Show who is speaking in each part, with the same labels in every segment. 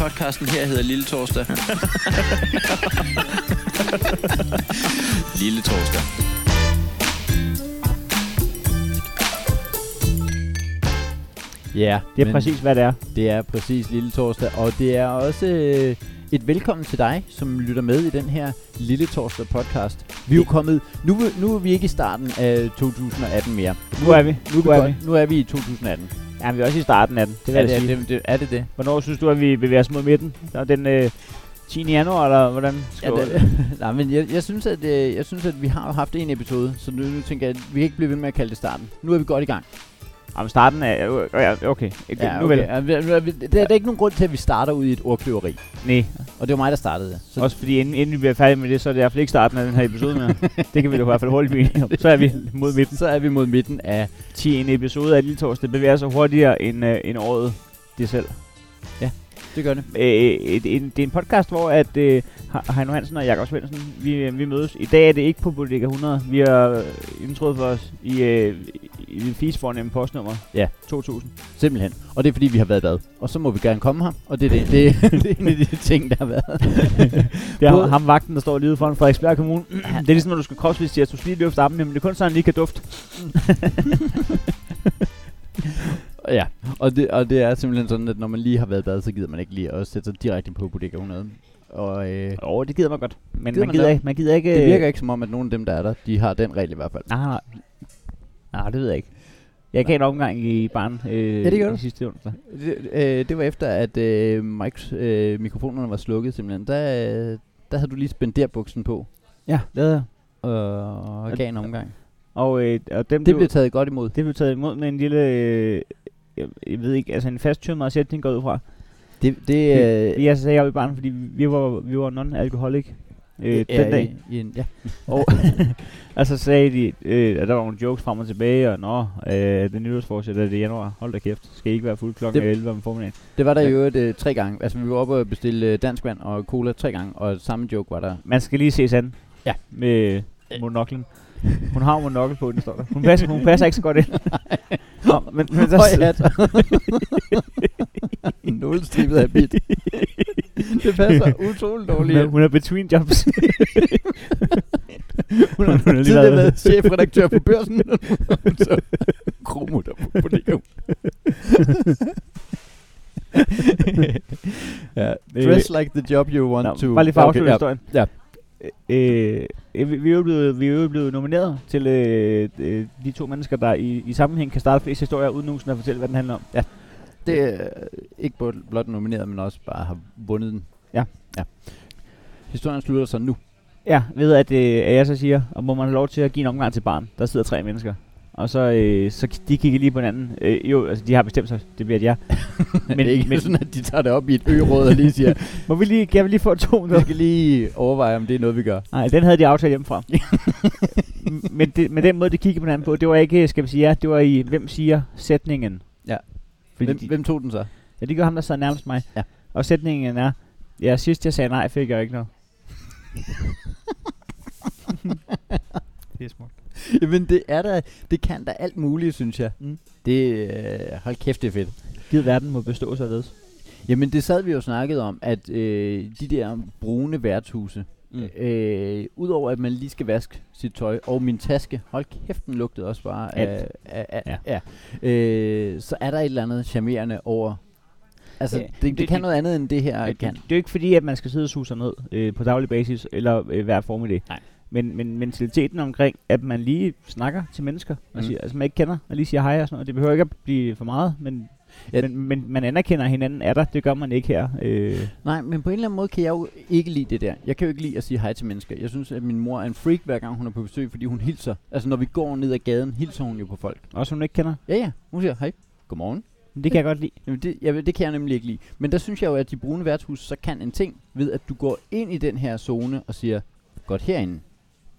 Speaker 1: podcasten her hedder Lille Torsdag. Lille Torsdag.
Speaker 2: Ja, det er
Speaker 3: Men-
Speaker 2: Men... præcis, hvad det er.
Speaker 3: Det er præcis Lille Torsdag, og det er også øh, et velkommen til dig, som lytter med i den her Lille Torsdag podcast. Vi er jo kommet, nu, er vi- nu er vi ikke i starten af 2018 mere.
Speaker 2: Nu er vi.
Speaker 3: Nu er vi,
Speaker 2: Nu er
Speaker 3: godt,
Speaker 2: vi.
Speaker 3: nu er vi i 2018.
Speaker 2: Ja, vi er også i starten af den. Det vil
Speaker 3: er, det,
Speaker 2: jeg sige.
Speaker 3: er, det, det, er det det?
Speaker 2: Hvornår synes du, at vi bevæger os mod midten? Der er den øh, 10. januar, eller hvordan?
Speaker 3: Ja,
Speaker 2: Skal vi-
Speaker 3: det nej, men jeg, jeg, synes, at, øh, jeg synes, at vi har jo haft en episode, så nu, nu tænker jeg, at vi kan ikke blive ved med at kalde det starten. Nu er vi godt i gang.
Speaker 2: Jamen, starten er... øh, Ja, okay. Ja, nu vel.
Speaker 3: Ja, vi- nu er vi, det, det er ikke nogen grund til, at vi starter ud i et ordkløveri.
Speaker 2: Nej,
Speaker 3: Og det var mig, der startede det. Så
Speaker 2: også fordi inden, inden vi bliver færdige med det, så er det i hvert fald ikke starten af den her episode mere. det kan vi da i hvert fald hurtigt blive enige om. Så er vi mod midten.
Speaker 3: så er vi mod midten af
Speaker 2: 10. en episode af Lille Torsdag bevæger sig hurtigere end, øh, end året det selv.
Speaker 3: Det gør det.
Speaker 2: Øh, et, en, det er en podcast, hvor at, øh, He- Heino Hansen og Jakob Svendsen, vi, vi mødes. I dag er det ikke på Bodega 100. Vi har øh, indtrådt for os i, øh, i en fis fornem postnummer.
Speaker 3: Ja.
Speaker 2: 2000.
Speaker 3: Simpelthen. Og det er fordi, vi har været i bad. Og så må vi gerne komme her. Og det er, det, det, det er en af de ting, der har været.
Speaker 2: Det er
Speaker 3: Både-
Speaker 2: ham, ham vagten, der står lige ude foran Frederiksberg Kommune. det er ligesom, når du skal kropsvisitere, så du skal lige løfte armen, men det er kun så, han lige kan dufte.
Speaker 3: ja. Og det, og det er simpelthen sådan, at når man lige har været i bad, så gider man ikke lige at sætte sig direkte på Bodega 100. Og øh,
Speaker 2: Åh, oh, det gider man godt. Men
Speaker 3: Gider man
Speaker 2: man, gider
Speaker 3: det?
Speaker 2: ikke, man gider ikke... øh,
Speaker 3: det virker ikke som om, at nogen af dem, der er der, de har den regel i hvert fald.
Speaker 2: Nej, nej. Nej, det ved jeg ikke. Jeg gav en omgang i barn øh,
Speaker 3: Ja, det gjorde
Speaker 2: i
Speaker 3: du.
Speaker 2: sidste onsdag.
Speaker 3: Det, øh, det var efter, at øh, Mikes, øh, mikrofonerne var slukket simpelthen. Der, øh, der havde du lige spenderbuksen på
Speaker 2: Ja, lavede jeg.
Speaker 3: øh, og gav en omgang.
Speaker 2: Og, øh, og dem
Speaker 3: Det
Speaker 2: blev-
Speaker 3: blev taget godt imod.
Speaker 2: Det blev taget imod med en lille, øh, jeg, jeg ved ikke, altså en fasttømret sætning går jeg ud fra.
Speaker 3: Det, det, øh,
Speaker 2: Jeg sagde jeg i barn, fordi vi var, vi var non-alkoholik øh, den
Speaker 3: er
Speaker 2: dag.
Speaker 3: I, i en, ja.
Speaker 2: Og, og så sagde de, øh, at der var nogle jokes frem og tilbage, og nå, øh, den nytårsforsæt er det i januar. Hold da kæft, skal I ikke være fuld klokken
Speaker 3: Det-
Speaker 2: 11 om formiddagen.
Speaker 3: Det var der
Speaker 2: Ja.
Speaker 3: jo øvrigt øh, tre gange. Altså, vi var oppe og bestille øh, dansk vand og cola tre gange, og samme joke var der.
Speaker 2: Man skal lige ses an.
Speaker 3: Ja.
Speaker 2: Med monoklen. Hun har jo monokkel på, den står der. Hun passer, hun passer ikke så godt ind. nå, men, men der,
Speaker 3: Høj hat. Nulstribet af bit. det passer utroligt
Speaker 2: hun,
Speaker 3: dårligt.
Speaker 2: er,
Speaker 3: ind.
Speaker 2: hun er between jobs.
Speaker 3: Hun
Speaker 2: hun har
Speaker 3: har
Speaker 2: lige
Speaker 3: tidligere
Speaker 2: været-
Speaker 3: været chefredaktør på børsen. så kromo der på det ja, Dress like the job you want
Speaker 2: Nå,
Speaker 3: to.
Speaker 2: Bare lige for at afslutte
Speaker 3: ja.
Speaker 2: historien.
Speaker 3: Ja.
Speaker 2: Øh, øh, vi, vi, er jo blevet, vi er jo blevet nomineret til øh, øh, de to mennesker, der i, i sammenhæng kan starte flest historier, uden nogensinde at fortælle, hvad den handler om. Ja.
Speaker 3: Det er ikke blot- blot nomineret, men også bare har vundet den.
Speaker 2: Ja.
Speaker 3: ja. Historien slutter så nu.
Speaker 2: ja ved at, øh, at jeg så siger, og må man have lov til at give en omgang til barn. Der sidder tre mennesker. Og så, øh, så k- de kigger lige på hinanden. Øh, jo, altså de har bestemt sig, det bliver et ja.
Speaker 3: Men,
Speaker 2: Men-
Speaker 3: det er ikke
Speaker 2: men-
Speaker 3: men, sådan, at de tager det op i et øråd og lige siger,
Speaker 2: Må vi lige, kan vi lige få to
Speaker 3: vi
Speaker 2: minutter?
Speaker 3: skal lige overveje, om det er noget, vi gør.
Speaker 2: Nej, den havde de aftalt hjemmefra. M- men, det, men den måde, de kiggede på hinanden på, det var ikke, skal vi sige ja, det var i, hvem siger sætningen.
Speaker 3: Ja.
Speaker 2: Fordi
Speaker 3: Hvem,
Speaker 2: de,
Speaker 3: hvem tog den så?
Speaker 2: Ja, det gør ham, der sad nærmest mig.
Speaker 3: Ja.
Speaker 2: Og sætningen er, ja, sidst jeg sagde nej, fik jeg ikke noget. det er smukt.
Speaker 3: Jamen det er da, det kan da alt muligt, synes jeg.
Speaker 2: Mm.
Speaker 3: Det, øh, hold kæft, det er fedt.
Speaker 2: Givet verden må bestå således.
Speaker 3: Jamen det sad vi jo snakket om, at øh, de der brune værtshuse, mm. øh, udover at man lige skal vaske sit tøj, og min taske, hold kæft, den lugtede også bare af,
Speaker 2: Alt.
Speaker 3: af, af, ja. Ja, øh, så er der et eller andet charmerende over, altså
Speaker 2: Ja,
Speaker 3: ja, det, det,
Speaker 2: det-
Speaker 3: det kan
Speaker 2: det-
Speaker 3: noget andet end det her
Speaker 2: Ja,
Speaker 3: det,
Speaker 2: det,
Speaker 3: kan.
Speaker 2: det er jo ikke fordi, at man skal sidde og suge sig ned øh, på daglig basis, eller øh, hver formiddag.
Speaker 3: Nej.
Speaker 2: Men, men mentaliteten omkring, at man lige snakker til mennesker, man
Speaker 3: Mm.
Speaker 2: siger, altså man ikke kender, og lige siger hej og sådan noget. Det behøver ikke at blive for meget, men, ja.
Speaker 3: Ja.
Speaker 2: men, men man anerkender at hinanden, er der. Det gør man ikke her. Øh,
Speaker 3: Nej, men på en eller anden måde kan jeg jo ikke lide det der. Jeg kan jo ikke lide at sige hej til mennesker. Jeg synes, at min mor er en freak, hver gang hun er på besøg, fordi hun hilser. Altså, når vi går ned ad gaden, hilser hun jo på folk.
Speaker 2: også hun ikke kender.
Speaker 3: Ja, ja. Hun siger, hej, godmorgen.
Speaker 2: Men det kan jeg godt lide.
Speaker 3: Jamen, det, jeg, ved- det kan jeg nemlig ikke lide. Men der synes jeg jo, at de brune værtshus så kan en ting ved, at du går ind i den her zone og siger, godt herinde.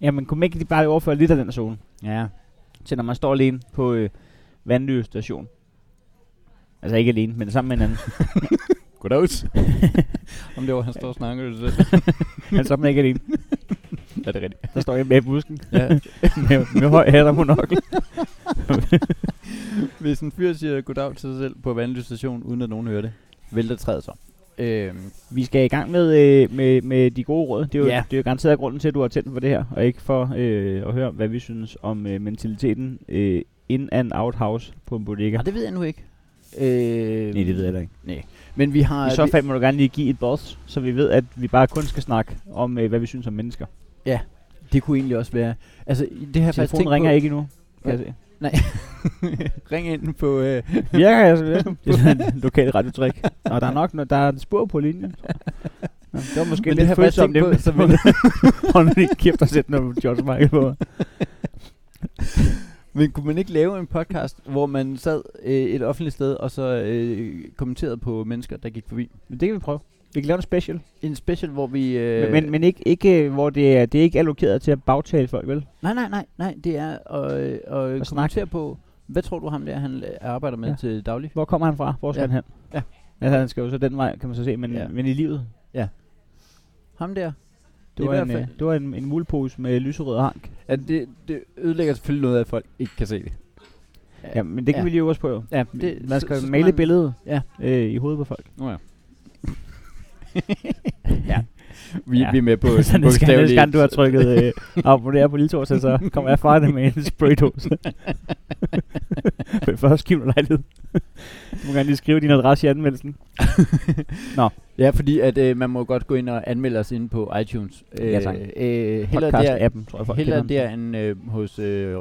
Speaker 2: Jamen, kunne man ikke lige bare overføre lidt af den zone?
Speaker 3: Ja.
Speaker 2: til når man står alene på øh, Vandløse station. Altså ikke alene, men sammen med en anden.
Speaker 3: Goddag. Om det var, han står og snakker, det
Speaker 2: men så er man Altså, ikke alene.
Speaker 3: er det rigtigt.
Speaker 2: Der står jeg med i busken
Speaker 3: Ja.
Speaker 2: med, med høj hat og monokkel.
Speaker 3: Hvis en fyr siger goddag til sig selv på vandløs station, uden at nogen hører det, vælter træet så. Øh,
Speaker 2: Vi skal i gang med, øh, med, med de gode råd. Det er, jo,
Speaker 3: Ja.
Speaker 2: det er jo garanteret grunden til, at du har tændt for det her, og ikke for øh, at høre, hvad vi synes om øh, mentaliteten øh, in and out house på en bodega.
Speaker 3: og det ved jeg nu ikke. Øh,
Speaker 2: Øhm, Nej, det ved jeg da ikke.
Speaker 3: Men vi har...
Speaker 2: I så
Speaker 3: vi-
Speaker 2: fald må du gerne lige give et boss, så vi ved, at vi bare kun skal snakke om, øh, hvad vi synes om mennesker.
Speaker 3: Det kunne egentlig også være... Altså, i det her faktisk
Speaker 2: Telefonen
Speaker 3: tænkt
Speaker 2: ringer
Speaker 3: på,
Speaker 2: ikke endnu. Kan jeg se.
Speaker 3: Ring ind på... Øh,
Speaker 2: Virker jeg så Det er sådan et lokalt radiotrik. Og der er nok noget, der er et spur på linjen. tror jeg. Nå, Det var måske
Speaker 3: Men det
Speaker 2: lidt
Speaker 3: har jeg faktisk
Speaker 2: følsomt
Speaker 3: tænkt
Speaker 2: dem,
Speaker 3: på,
Speaker 2: så
Speaker 3: så
Speaker 2: vi hold nu lige kæft og sæt noget George Michael på.
Speaker 3: men kunne man ikke lave en podcast, hvor man sad øh, et offentligt sted, og så øh, kommenterede på mennesker, der gik forbi?
Speaker 2: Men det kan vi prøve. Vi kan lave en special.
Speaker 3: En special, hvor vi...
Speaker 2: Øh.
Speaker 3: Øh,
Speaker 2: Men, men ikke, ikke, øh, hvor det er, det er ikke allokeret til at bagtale folk, vel?
Speaker 3: Nej, nej, nej, nej. Det er at, øh, at kommentere på, hvad tror du ham der, han øh, arbejder med
Speaker 2: Ja.
Speaker 3: ja. til daglig?
Speaker 2: Hvor kommer han fra? Hvor skal
Speaker 3: Ja.
Speaker 2: han hen?
Speaker 3: Ja.
Speaker 2: Altså, han skal jo så den vej, kan man så se, men, ja.
Speaker 3: Ja.
Speaker 2: men i livet.
Speaker 3: Ham der?
Speaker 2: Det
Speaker 3: I
Speaker 2: var,
Speaker 3: hvert
Speaker 2: en,
Speaker 3: fald.
Speaker 2: øh, det var en, en mulepose med lyserød hank.
Speaker 3: Ja, det, det ødelægger selvfølgelig noget af, at folk ikke kan se det.
Speaker 2: Ja, men det kan
Speaker 3: Ja.
Speaker 2: vi lige øve os på, jo.
Speaker 3: Ja,
Speaker 2: Det, man skal
Speaker 3: så- så
Speaker 2: male
Speaker 3: man-
Speaker 2: man, billedet
Speaker 3: Ja.
Speaker 2: øh, i hovedet på folk.
Speaker 3: Nå ja. ja. Vi,
Speaker 2: Ja.
Speaker 3: vi er med på
Speaker 2: så
Speaker 3: den
Speaker 2: næste gang, næste
Speaker 3: bogstavelige-
Speaker 2: gang, du har trykket øh, abonner på lille torsdag, så kommer jeg fra det med en spraydose. Men først giv mig lejlighed. Du må gerne lige skrive din adresse i anmeldelsen.
Speaker 3: Ja, fordi at øh, man må godt gå ind og anmelde os inde på iTunes.
Speaker 2: Ja, tak.
Speaker 3: Øh, heller der,
Speaker 2: Podcast-appen, tror jeg, folk
Speaker 3: heller
Speaker 2: kender
Speaker 3: der end øh, hos øh,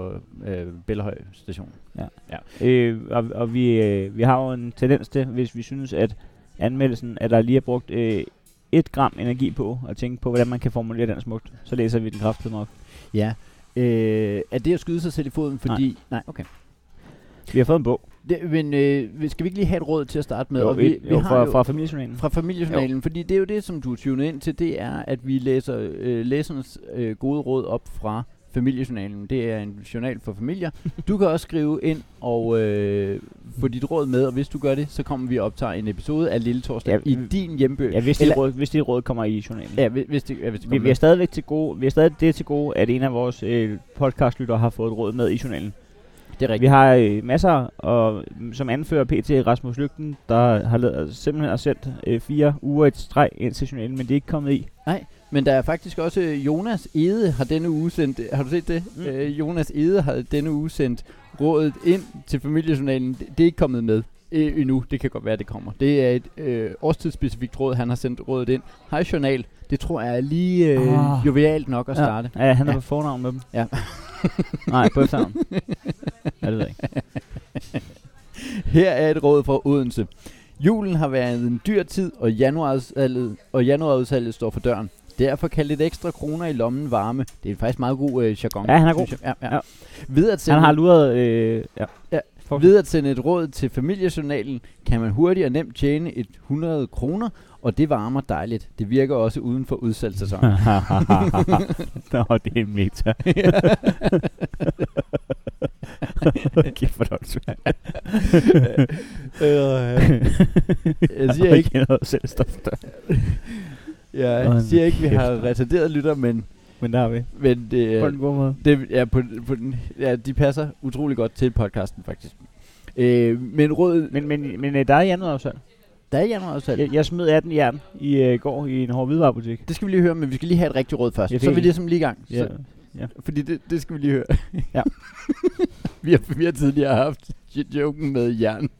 Speaker 3: øh, Bellehøj station.
Speaker 2: den. Øh, og, og vi, øh, vi har jo en tendens til, hvis vi synes, at anmeldelsen, at der lige er brugt øh, et gram energi på at tænke på, hvordan man kan formulere den smukt, så læser vi den kraftigt op.
Speaker 3: Ja. Øh, er det at skyde sig selv i foden, fordi... Nej, Nej okay.
Speaker 2: Vi har fået en bog
Speaker 3: Det, men øh, vi- skal vi ikke lige have et råd til at starte med?
Speaker 2: jo,
Speaker 3: og vi,
Speaker 2: et,
Speaker 3: vi
Speaker 2: jo,
Speaker 3: har
Speaker 2: fra,
Speaker 3: jo
Speaker 2: fra familiejournalen.
Speaker 3: fra familiejournalen, jo. fordi det er jo det, som du er tunet ind til, det er, at vi læser øh, læsernes øh, gode råd op fra familiejournalen. Det er en journal for familier. Du kan også skrive ind og øh, få dit råd med, og hvis du gør det, så kommer vi og optager en episode af Lille Torsdag
Speaker 2: Ja,
Speaker 3: ja, i
Speaker 2: vi-
Speaker 3: din hjemby.
Speaker 2: Ja, hvis det,
Speaker 3: Eller-
Speaker 2: råd, hvis det råd kommer i journalen.
Speaker 3: Ja, hvis, hvis det, ja, hvis det
Speaker 2: Vi,
Speaker 3: kommer
Speaker 2: vi, er
Speaker 3: med.
Speaker 2: stadigvæk til gode, vi er stadig det til gode, at en af vores øh, podcastlyttere har fået et råd med i journalen.
Speaker 3: Det er
Speaker 2: Vi
Speaker 3: rigtigt.
Speaker 2: har øh, masser, og mm, som anfører PT Rasmus Lygten, der har lavet, simpelthen har sendt øh, fire uger et streg ind til journalen, men det er ikke kommet i.
Speaker 3: Men der er faktisk også øh, Jonas Ede har denne uge sendt, har du set det?
Speaker 2: Mm.
Speaker 3: Mm. Øh, Jonas Ede har denne uge sendt rådet ind til familiejournalen. Det, det er ikke kommet med øh, endnu. Det kan godt være, det kommer. Det er et øh, årstidsspecifikt råd, han har sendt rådet ind. Hej journal. Det tror jeg er lige øh,
Speaker 2: Ah.
Speaker 3: oh. jovialt nok at
Speaker 2: Ja.
Speaker 3: starte.
Speaker 2: Ja, han er
Speaker 3: Ja.
Speaker 2: på fornavn med dem.
Speaker 3: Ja.
Speaker 2: Nej, på efternavn. ja, det ved jeg ikke.
Speaker 3: Her er et råd fra Odense. Julen har været en dyr tid, og januarudsalget, og januarudsalget står for døren. Derfor kan lidt ekstra kroner i lommen varme. Det er faktisk meget god øh, jargon.
Speaker 2: Ja, han er god.
Speaker 3: synes jeg. Ja, ja.
Speaker 2: Ja.
Speaker 3: ja. Ved at sende
Speaker 2: Han har luret... Øh, ja.
Speaker 3: Ja,
Speaker 2: Fuck.
Speaker 3: Ved at sende et råd til familiejournalen, kan man hurtigt og nemt tjene et 100 kroner, og det varmer dejligt. Det virker også uden for udsalgssæsonen.
Speaker 2: Nå, det er meta. Kæft, hvor er det åndssvagt.
Speaker 3: Øh, jeg siger ikke,
Speaker 2: Jeg noget selvstof der.
Speaker 3: jeg siger ikke, vi har retarderet lytter, men,
Speaker 2: Men der er vi.
Speaker 3: men det, er-
Speaker 2: god måde.
Speaker 3: det ja, på, på den, ja, de passer utrolig godt til podcasten faktisk. Øh, men råd,
Speaker 2: Men, men, men øh, der er januar også.
Speaker 3: der er januarudsalg.
Speaker 2: Jeg, jeg smed 18 jern i øh, går i en hård hvidevarebutik.
Speaker 3: Det skal vi lige høre, men vi skal lige have et rigtigt råd først.
Speaker 2: Jeg fik
Speaker 3: Så er vi
Speaker 2: en-
Speaker 3: ligesom lige i gang.
Speaker 2: Ja.
Speaker 3: Så, Fordi det, det skal vi lige høre.
Speaker 2: Ja.
Speaker 3: vi, har, vi har tidligere haft joken med jern.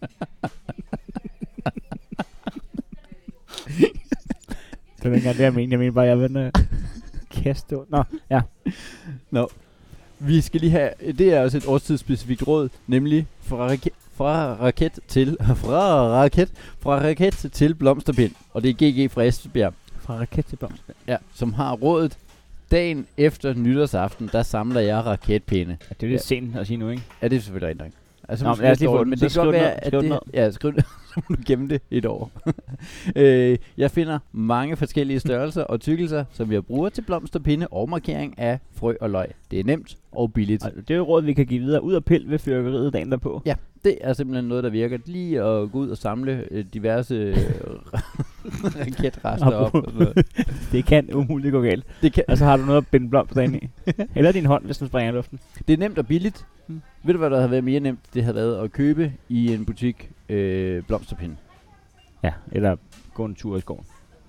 Speaker 2: Det var ikke engang det, jeg mente. Jeg mente bare, jeg vendte kaste. ud. Nå, ja.
Speaker 3: Vi skal lige have, det er også et årstidsspecifikt råd, nemlig fra, rake, fra raket til, fra raket, fra raket til blomsterpind. Og det er GG fra Esbjerg,
Speaker 2: Fra raket til blomst.
Speaker 3: ja, som har rådet, dagen efter nytårsaften, der samler jeg raketpinde.
Speaker 2: Ja, det er lidt sent at sige nu, ikke?
Speaker 3: Ja, det er selvfølgelig rigtig nok. Altså,
Speaker 2: Nå,
Speaker 3: måske
Speaker 2: men lad
Speaker 3: lidt
Speaker 2: os lige få
Speaker 3: dårligt,
Speaker 2: den.
Speaker 3: men
Speaker 2: Så
Speaker 3: det kan
Speaker 2: skriv
Speaker 3: godt
Speaker 2: den
Speaker 3: være,
Speaker 2: ned.
Speaker 3: at
Speaker 2: Skriv den
Speaker 3: det, ja, skriv den, så må du gemme det et år. øh, jeg finder mange forskellige størrelser og tykkelser, som jeg bruger til blomsterpinde og markering af frø og løg. Det er nemt og billigt.
Speaker 2: Og Altså, det er jo råd, vi kan give videre. Ud og pille ved fyrkeriet dagen derpå.
Speaker 3: Det er simpelthen noget, der virker. Lige at gå ud og samle øh, diverse øh, raketrester op. Og sådan noget.
Speaker 2: Det kan umuligt gå galt.
Speaker 3: Det, kan,
Speaker 2: Og så har du noget at binde blomster ind i. Eller din hånd, hvis den springer i luften.
Speaker 3: altså, det er nemt og billigt.
Speaker 2: Mm.
Speaker 3: Ved du, hvad der havde været mere nemt? Det havde været at købe i en butik øh, blomsterpinde.
Speaker 2: Ja, eller gå en tur i skoven.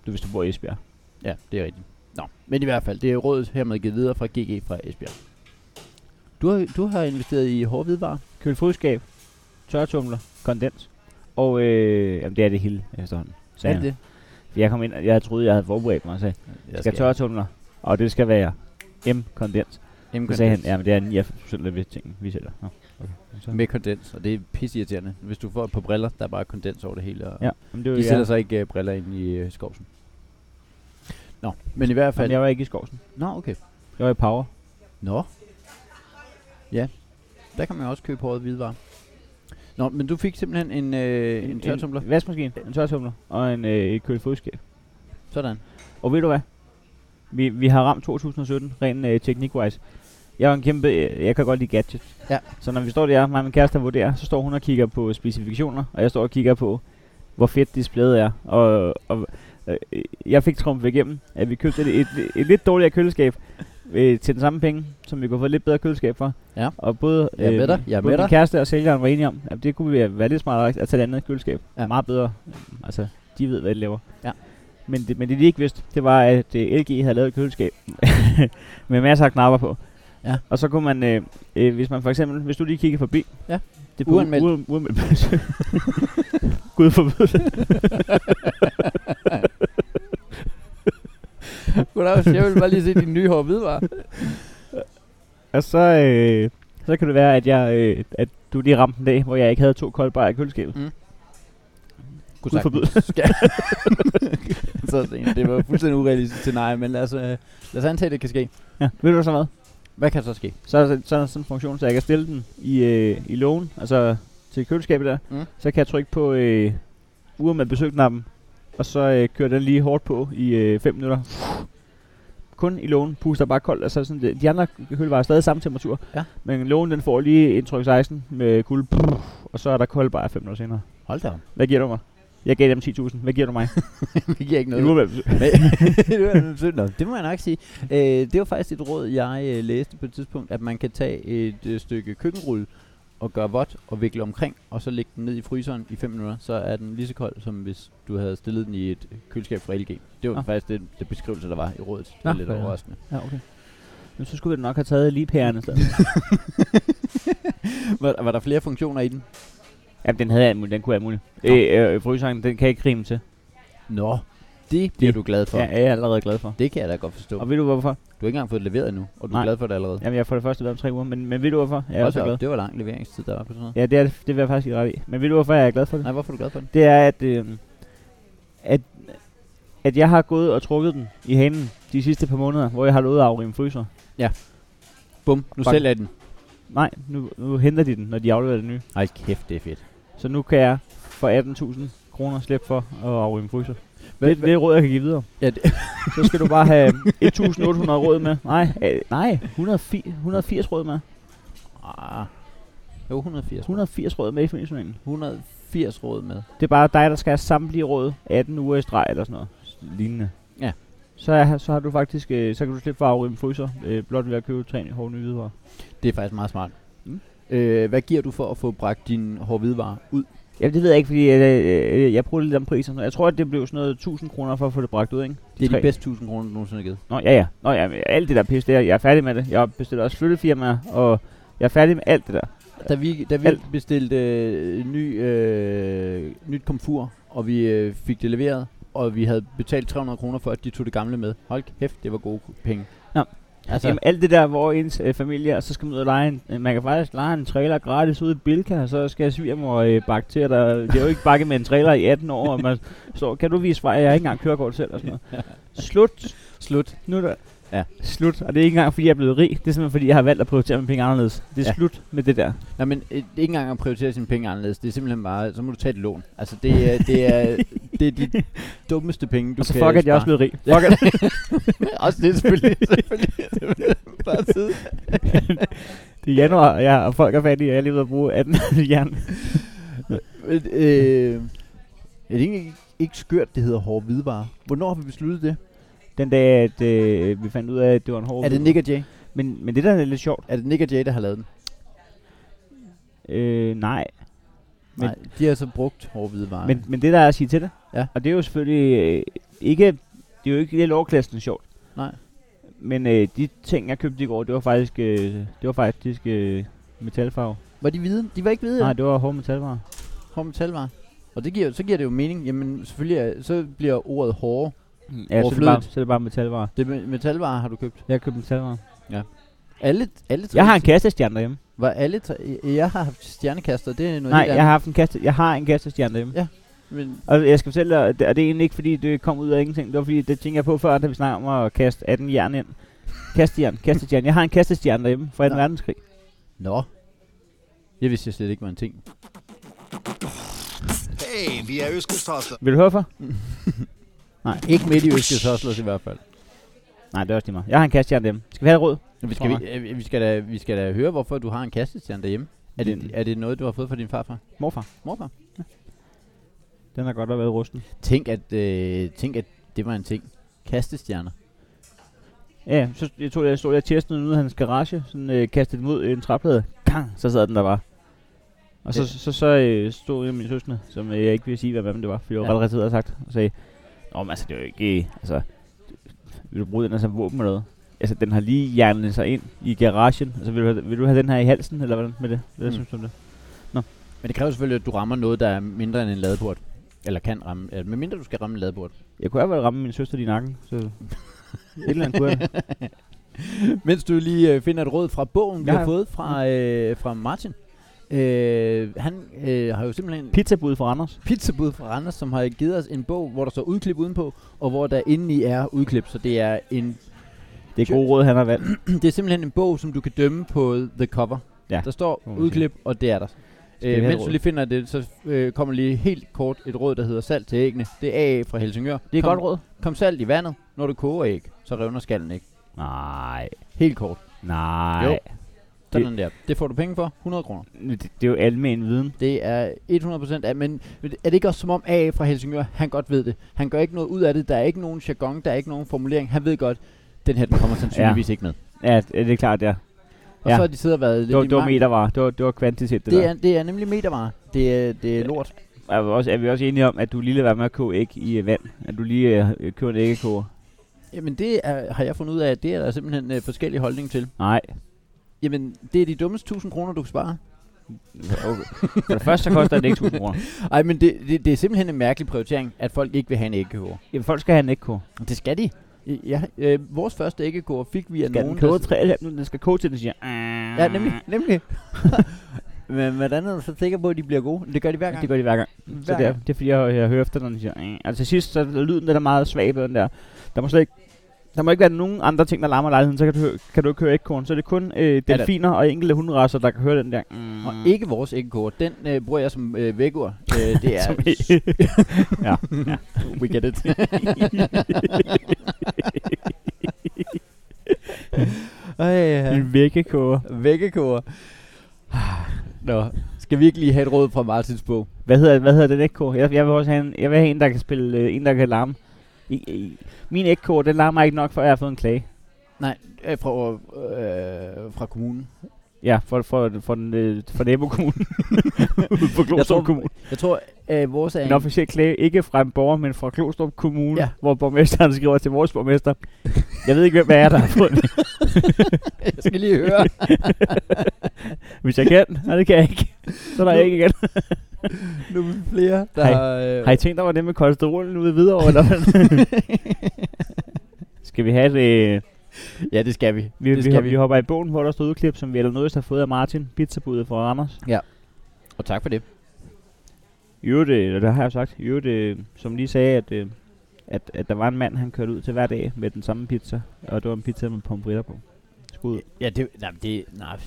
Speaker 2: Du, hvis du bor i Esbjerg.
Speaker 3: Ja, det er rigtigt. Nå, men i hvert fald, det er rådet hermed givet videre fra GG fra Esbjerg. Du har, du har investeret i hårdhvidvarer.
Speaker 2: Kølefodskab, tørretumler, kondens. Og øh, jamen, det er det hele efterhånden.
Speaker 3: Er
Speaker 2: sagde
Speaker 3: det det?
Speaker 2: For jeg kom ind, og jeg troede, jeg havde forberedt mig og sagde,
Speaker 3: Jeg
Speaker 2: skal tørretumler, og det skal være M-kondens.
Speaker 3: M-
Speaker 2: Så sagde han, ja, men det er 99% af ting, vi sælger. Nå.
Speaker 3: med kondens, og det er pisseirriterende. Hvis du får et par briller, der er bare kondens over det hele. Og
Speaker 2: Ja, men det var
Speaker 3: De sætter
Speaker 2: jeg.
Speaker 3: så ikke uh, briller ind i uh, skovsen. Nå, men i hvert fald...
Speaker 2: Jamen, jeg var ikke i skovsen.
Speaker 3: Nå, okay.
Speaker 2: Jeg var i Power.
Speaker 3: Nå. Ja, der kan man også købe hårde hvidevarer. Nå, men du fik simpelthen en, øh, en tørretumbler.
Speaker 2: En vaskemaskine, en tørretumler og en øh, et kølefodskab.
Speaker 3: Sådan.
Speaker 2: Og ved du hvad? Vi, vi har ramt 2017, rent øh, teknik-wise. Jeg er jo en kæmpe, øh, jeg kan godt lide gadgets.
Speaker 3: Ja.
Speaker 2: Så når vi står der, mig og min kæreste vurderer, så står hun og kigger på specifikationer, og jeg står og kigger på, hvor fedt displayet er. Og, og øh, jeg fik trumfet igennem, at vi købte et, et, et lidt dårligere køleskab øh, til den samme penge, som vi kunne få et lidt bedre køleskab for.
Speaker 3: Ja.
Speaker 2: Og både, øh,
Speaker 3: Jeg er med dig, jeg er
Speaker 2: både
Speaker 3: med
Speaker 2: min
Speaker 3: dig.
Speaker 2: kæreste og sælgeren var enige om, at det kunne være, være lidt smartere at tage et andet køleskab.
Speaker 3: Ja.
Speaker 2: Ja. Meget bedre. Altså, de ved, hvad de laver.
Speaker 3: Ja.
Speaker 2: Men det, men det de ikke vidste, det var, at øh, LG havde lavet et køleskab med masser af knapper på.
Speaker 3: Ja.
Speaker 2: Og så kunne man, øh, øh, hvis man for eksempel, hvis du lige kigger forbi.
Speaker 3: Ja.
Speaker 2: Det er
Speaker 3: Uanmeldt.
Speaker 2: uanmeldt. Uan, uanmeldt besøg. Gud forbyde det.
Speaker 3: Goddag, jeg vil bare lige se dine nye hårde hvidevarer.
Speaker 2: Og så, øh, så kan det være, at, jeg, øh, at du lige ramte en dag, hvor jeg ikke havde to koldbarer i køleskabet. Gud forbyde
Speaker 3: så sen. Det var fuldstændig urealistisk scenarie, men lad os, øh, lad os antage, at det kan ske.
Speaker 2: Ja. Ved du så hvad?
Speaker 3: Hvad kan så ske?
Speaker 2: Så er der så, så er der sådan en funktion, så jeg kan stille den i, øh, i lågen, altså til køleskabet der.
Speaker 3: Mm.
Speaker 2: Mm. Så kan jeg trykke på øh, uret med besøgknappen, og så øh, kører den lige hårdt på i 5 minutter. Kun i lågen puster bare koldt, altså sådan det. de andre kølvarer er stadig samme temperatur.
Speaker 3: Ja.
Speaker 2: Men lågen den får lige en tryk 16 med kulde, Puh, og så er der koldt bare 5 minutter senere.
Speaker 3: Hold da op.
Speaker 2: Hvad giver du mig? Jeg gav dem 10.000. Hvad giver du mig?
Speaker 3: det giver ikke noget.
Speaker 2: Et uret med besøg.
Speaker 3: det, var synd nok. det må jeg nok sige. Øh, det var faktisk et råd, jeg øh, læste på et tidspunkt, at man kan tage et øh, stykke køkkenrulle og gøre vådt og vikle omkring, og så lægge den ned i fryseren i 5 minutter, så er den lige så kold, som hvis du havde stillet den i et øh, køleskab fra LG. Det var
Speaker 2: Nå.
Speaker 3: faktisk det, det beskrivelse, der var i rådet. Det
Speaker 2: Nå,
Speaker 3: var lidt
Speaker 2: for helvede.
Speaker 3: overraskende.
Speaker 2: Ja, okay. Men så skulle vi da nok have taget lige pærerne i stedet.
Speaker 3: Var, var der flere funktioner i den?
Speaker 2: Jamen, den havde alt muligt. Den kunne alt muligt. Øh, øh, fryseren, den kan ikke rime til.
Speaker 3: Nå, det bliver
Speaker 2: Det-
Speaker 3: du glad for.
Speaker 2: Ja, jeg er allerede glad for.
Speaker 3: Det kan jeg da godt forstå.
Speaker 2: Og ved du hvorfor?
Speaker 3: Du har ikke engang fået det leveret endnu, og du er
Speaker 2: Nej.
Speaker 3: glad for det allerede.
Speaker 2: Jamen, jeg har for det første været om tre uger, men, men ved du hvorfor? Jeg er
Speaker 3: Hold
Speaker 2: også
Speaker 3: da op,
Speaker 2: glad.
Speaker 3: Det var lang leveringstid, der var på sådan noget.
Speaker 2: Ja, det, er, det- det vil jeg faktisk ikke ret i. Men ved du hvorfor jeg er glad for det?
Speaker 3: Nej, hvorfor er du glad for det?
Speaker 2: Det er, at, øh, at, at jeg har gået og trukket den i hanen de sidste par måneder, hvor jeg har lovet at afrime fryser.
Speaker 3: Bum, nu
Speaker 2: Bang.
Speaker 3: sælger jeg den.
Speaker 2: Nej, nu, nu henter de den, når de afleverer den nye.
Speaker 3: Ej, kæft, det er fedt.
Speaker 2: Så nu kan jeg for 18.000 kroner slippe for at afrime fryser.
Speaker 3: Hvad-
Speaker 2: Det, det er et råd, jeg kan give videre.
Speaker 3: Ja, det,
Speaker 2: Så skal du bare have 1.800 råd med. Nej, øh, nej 180, 180 råd med.
Speaker 3: ah. Jo, 180.
Speaker 2: 180 råd med i foreningsjournalen.
Speaker 3: 180 råd med.
Speaker 2: Det er bare dig, der skal have samtlige råd 18 uger i streg eller sådan noget. Lignende.
Speaker 3: Ja.
Speaker 2: Så, er, så har du faktisk, øh, så kan du slippe for at afrime fryser, øh, blot ved at købe tre hårde nye hvidevarer.
Speaker 3: Det er faktisk meget smart. Mm.
Speaker 2: Mm.
Speaker 3: Øh, hvad giver du for at få bragt din hårde hvidevarer ud?
Speaker 2: Jamen det ved jeg ikke, fordi øh, øh, jeg bruger lidt om prisen. Jeg tror, at det blev sådan noget 1000 kroner for at få det bragt ud, ikke?
Speaker 3: Det er de
Speaker 2: tre.
Speaker 3: bedste 1000 kroner, du nogensinde har givet.
Speaker 2: Nå, ja, ja. Nå, ja, men alt det der pis, det er, jeg er færdig med det. Jeg bestiller også flyttefirmaer, og jeg er færdig med alt det der.
Speaker 3: Da vi, da vi
Speaker 2: Alt.
Speaker 3: bestilte øh, ny, øh, nyt komfur, og vi øh, fik det leveret, og vi havde betalt 300 kroner for, at de tog det gamle med. Hold kæft, det var gode penge.
Speaker 2: Nå.
Speaker 3: Altså,
Speaker 2: Jamen alt det der, hvor ens øh, familie, og så skal man ud og lege en, øh, man kan faktisk lege en trailer gratis ude i Bilka, og så skal svigermor øh, bakke til, og der, det er jo ikke bakket med en trailer i 18 år, og man står, kan du vise vej, jeg har ikke engang kørekort selv, og sådan noget. Slut.
Speaker 3: slut.
Speaker 2: Nu er der.
Speaker 3: Ja.
Speaker 2: Slut. Og det er ikke engang, fordi jeg er blevet rig, det er simpelthen, fordi jeg har valgt at prioritere mine penge anderledes. Det er
Speaker 3: Ja.
Speaker 2: ja. slut med det der.
Speaker 3: Nej, men øh, det er ikke engang at prioritere sine penge anderledes. Det er simpelthen bare, så må du tage et lån. Altså, det er, det er, det er de dummeste penge, du
Speaker 2: og så
Speaker 3: kan
Speaker 2: fuck, at jeg er også
Speaker 3: spare.
Speaker 2: blevet rig. Fuck, at,
Speaker 3: også det, selvfølgelig. selvfølgelig. selvfølgelig. Bare sidde.
Speaker 2: det er januar, og, jeg, og folk er fattige, og jeg er lige ved at bruge 18 jern.
Speaker 3: Men, øh, er det ikke, ikke skørt, det hedder hårde hvidevarer? Hvornår har vi besluttet det?
Speaker 2: Den dag, at øh, vi fandt ud af, at det var en hård
Speaker 3: Er det
Speaker 2: uge.
Speaker 3: Nick og Jay?
Speaker 2: men, men det der er lidt sjovt.
Speaker 3: Er det Nick og Jay, der har lavet den?
Speaker 2: Øh, nej. Men
Speaker 3: Nej, De har så brugt hårdhvide varer.
Speaker 2: Men, men det der er at sige til det,
Speaker 3: Ja.
Speaker 2: og det er jo selvfølgelig øh, ikke, det er jo ikke lidt overklassen sjovt.
Speaker 3: Nej.
Speaker 2: Men øh, de ting, jeg købte i går, det var faktisk, øh, det var faktisk øh, metalfarve.
Speaker 3: var de hvide? De var ikke hvide.
Speaker 2: Nej, det var hårde metalvarer.
Speaker 3: Hårde metalvarer. Og det giver, så giver det jo mening. Jamen selvfølgelig, er, så bliver ordet hårde.
Speaker 2: Ja, så er, det bare,
Speaker 3: Mm, Overflødigt.
Speaker 2: så er det bare metalvarer.
Speaker 3: Det er me- metalvarer har du købt.
Speaker 2: Jeg købte metalvarer.
Speaker 3: Alle, alle tre,
Speaker 2: Jeg har en kastestjerne derhjemme.
Speaker 3: Var alle tre, jeg har haft stjernekaster, det er noget
Speaker 2: Nej,
Speaker 3: helt
Speaker 2: jeg har haft en kaste, jeg har en kastestjerne derhjemme.
Speaker 3: Ja. andet. Men
Speaker 2: Og jeg skal fortælle dig, og det, og det er egentlig ikke fordi, det kom ud af ingenting. Det var fordi, det tænker jeg på før, da vi snakker om at kaste 18 jern ind. Kastejern, kastestjerne. Jeg har en kastestjerne derhjemme fra 18.
Speaker 3: Nå.
Speaker 2: verdenskrig.
Speaker 3: Nå. Jeg vidste jeg slet ikke var en ting.
Speaker 4: Hey, vi er Østkysthoster.
Speaker 2: Vil du høre for?
Speaker 3: Ikke midt i Øskes Hoslers i hvert fald.
Speaker 2: Nej, det er også lige meget. Jeg har en kastestjerne derhjemme. Skal vi have det rød?
Speaker 3: Vi
Speaker 2: Tror
Speaker 3: skal, vi, øh, vi, skal da, vi skal da høre, hvorfor du har en kastestjerne derhjemme. Er det, er det noget, du har fået fra din farfar?
Speaker 2: Morfar.
Speaker 3: Morfar?
Speaker 2: Den har godt nok været rusten.
Speaker 3: Tænk at, øh, tænk, at det var en ting. Kastestjerner.
Speaker 2: Ja, så st- jeg tog, jeg stod jeg testede ude af hans garage, sådan øh, kastede den mod en træplade. Kang, så sad den der bare. Og så,
Speaker 3: Ja.
Speaker 2: så, så, så øh, stod jeg med min søster, som øh, jeg ikke vil sige, hvad, hvem det var, for jeg var
Speaker 3: Ja.
Speaker 2: ja. ret rettet og sagt, og sagde, Nå, men altså, det er jo ikke, øh, altså, vil du bruge den her som våben eller noget? Altså, den har lige hjernet sig ind i garagen, altså, vil du, have- vil du have den her i halsen, eller hvordan med det? Hvad
Speaker 3: Mm.
Speaker 2: synes du om det?
Speaker 3: Men det kræver selvfølgelig, at du rammer noget, der er mindre end en ladeport. Eller kan ramme. Altså, med mindre du skal ramme en ladeport.
Speaker 2: Jeg kunne i hvert fald ramme min søster i nakken, så et eller andet kunne jeg.
Speaker 3: Mens du lige øh, finder et råd fra bogen, vi
Speaker 2: Ja,
Speaker 3: har
Speaker 2: ja.
Speaker 3: fået fra, øh, fra Martin. Øh, han øh, har jo simpelthen...
Speaker 2: Pizzabud fra Anders.
Speaker 3: pizzabud fra Randers, som har givet os en bog, hvor der står udklip udenpå, og hvor der indeni er udklip. Så det er, en,
Speaker 2: Det er gode råd, han har valgt.
Speaker 3: det er simpelthen en bog, som du kan dømme på the cover.
Speaker 2: Ja,
Speaker 3: Der står
Speaker 2: må man sige.
Speaker 3: udklip, og det er der.
Speaker 2: vi
Speaker 3: Øh,
Speaker 2: have et
Speaker 3: mens du
Speaker 2: råd?
Speaker 3: lige finder det, så øh, kommer lige helt kort et råd, der hedder salt til æggene. Det er AA fra Helsingør.
Speaker 2: Det er
Speaker 3: kom,
Speaker 2: godt råd.
Speaker 3: Kom salt i vandet, når du koger æg, så revner skallen ikke.
Speaker 2: Nej,
Speaker 3: Helt kort.
Speaker 2: nej.
Speaker 3: Jo. Sådan der. Det får du penge for. 100 kroner.
Speaker 2: Det, det er jo almen viden.
Speaker 3: Det er 100% af, men er det ikke også som om AA fra Helsingør, han godt ved det. Han gør ikke noget ud af det, der er ikke nogen jargon, der er ikke nogen formulering. Han ved godt, den her den kommer sandsynligvis ja. ikke med.
Speaker 2: Ja, det det er klart, ja.
Speaker 3: Og
Speaker 2: Ja.
Speaker 3: så har de siddet og været lidt
Speaker 2: Det var,
Speaker 3: i
Speaker 2: det var
Speaker 3: mangel.
Speaker 2: metervarer. Det var, det var kvantitet, det,
Speaker 3: det,
Speaker 2: der.
Speaker 3: er, det er nemlig metervare. Det er, det er lort.
Speaker 2: Er, vi også, er vi også enige om, at du lige lader være med at koge æg i øh, vand? At du lige øh, køber en æggekoger?
Speaker 3: Jamen det er, har jeg fundet ud af, at det er der simpelthen øh, forskellige holdninger til.
Speaker 2: Nej.
Speaker 3: Jamen det er de dummeste 1000 kroner, du kan spare.
Speaker 2: Okay. For det første, så koster det ikke 1000 kroner.
Speaker 3: Ej, men det, det, det er simpelthen en mærkelig prioritering, at folk ikke vil have en æggekoger.
Speaker 2: Jamen, folk skal have en æggekoger.
Speaker 3: Det skal de. Ja, øh, vores første æggekoger fik vi af
Speaker 2: Skal
Speaker 3: nogen,
Speaker 2: den
Speaker 3: der
Speaker 2: koge 3,5 minutter? Den skal koge til, den siger...
Speaker 3: Ja, nemlig. nemlig. Men hvordan er du så sikker på, at de bliver gode? Det gør de hver gang.
Speaker 2: Det gør de hver gang. Så
Speaker 3: Hver
Speaker 2: det er,
Speaker 3: gang.
Speaker 2: det er fordi, jeg, jeg hører efter, når den siger... "Mm." Og til sidst, så er lyden den er meget svag på den der. Der må slet ikke... Der må ikke være nogen andre ting, der larmer lejligheden, så kan du, hø- kan du ikke høre æggekoren. Så er det kun øh,
Speaker 3: da.
Speaker 2: delfiner og enkelte hunderasser, der kan høre den der... "Mm."
Speaker 3: Og ikke vores æggekår. Den øh, bruger jeg som øh, vækord. Øh, det er...
Speaker 2: Som i- ja, ja.
Speaker 3: we get it. Ej, ja.
Speaker 2: En vækkekoger.
Speaker 3: Vækkekår. Nå, skal vi ikke lige have et råd fra Martins bog?
Speaker 2: Hvad hedder, hvad hedder den ægkoger? Jeg, jeg vil også have en, jeg vil have en, der kan spille, øh, en, der kan larme. I, i, min ægkoger, den larmer ikke nok, før jeg har fået en klage.
Speaker 3: Nej, øh, fra, øh, fra kommunen.
Speaker 2: Ja, for, for, for, den, øh, for nabokommunen. Ude på
Speaker 3: Jeg tror-
Speaker 2: Glostrup Kommune.
Speaker 3: Jeg tror, øh, vores er
Speaker 2: En officiel klage, ikke fra en borger, men fra Glostrup Kommune,
Speaker 3: Ja.
Speaker 2: ja. hvor borgmesteren skriver til vores borgmester. Jeg ved ikke, hvem jeg er, der har fået den.
Speaker 3: Jeg skal lige høre.
Speaker 2: Hvis jeg kan, nej, det kan jeg ikke. Så er der
Speaker 3: Nu-
Speaker 2: ikke igen.
Speaker 3: nu er vi flere, der...
Speaker 2: Hej.
Speaker 3: har, Øh,
Speaker 2: Har I tænkt, der var det med kolesterolen ude videre? Eller? Skal vi have det... Øh,
Speaker 3: Ja, det skal vi.
Speaker 2: Vi,
Speaker 3: det
Speaker 2: vi,
Speaker 3: skal
Speaker 2: vi. vi hopper i bogen, hvor der står udklip, som vi allernådigst har fået af Martin, pizzabuddet fra Randers.
Speaker 3: Og tak for det.
Speaker 2: I øvrigt, øh, eller det har jeg sagt, i øvrigt, øh, som lige sagde, at, øh, at, at der var en mand, han kørte ud til hver dag med den samme pizza, og det var en pizza med pomfritter på. Skud.
Speaker 3: Ja, det, nej, det, nej.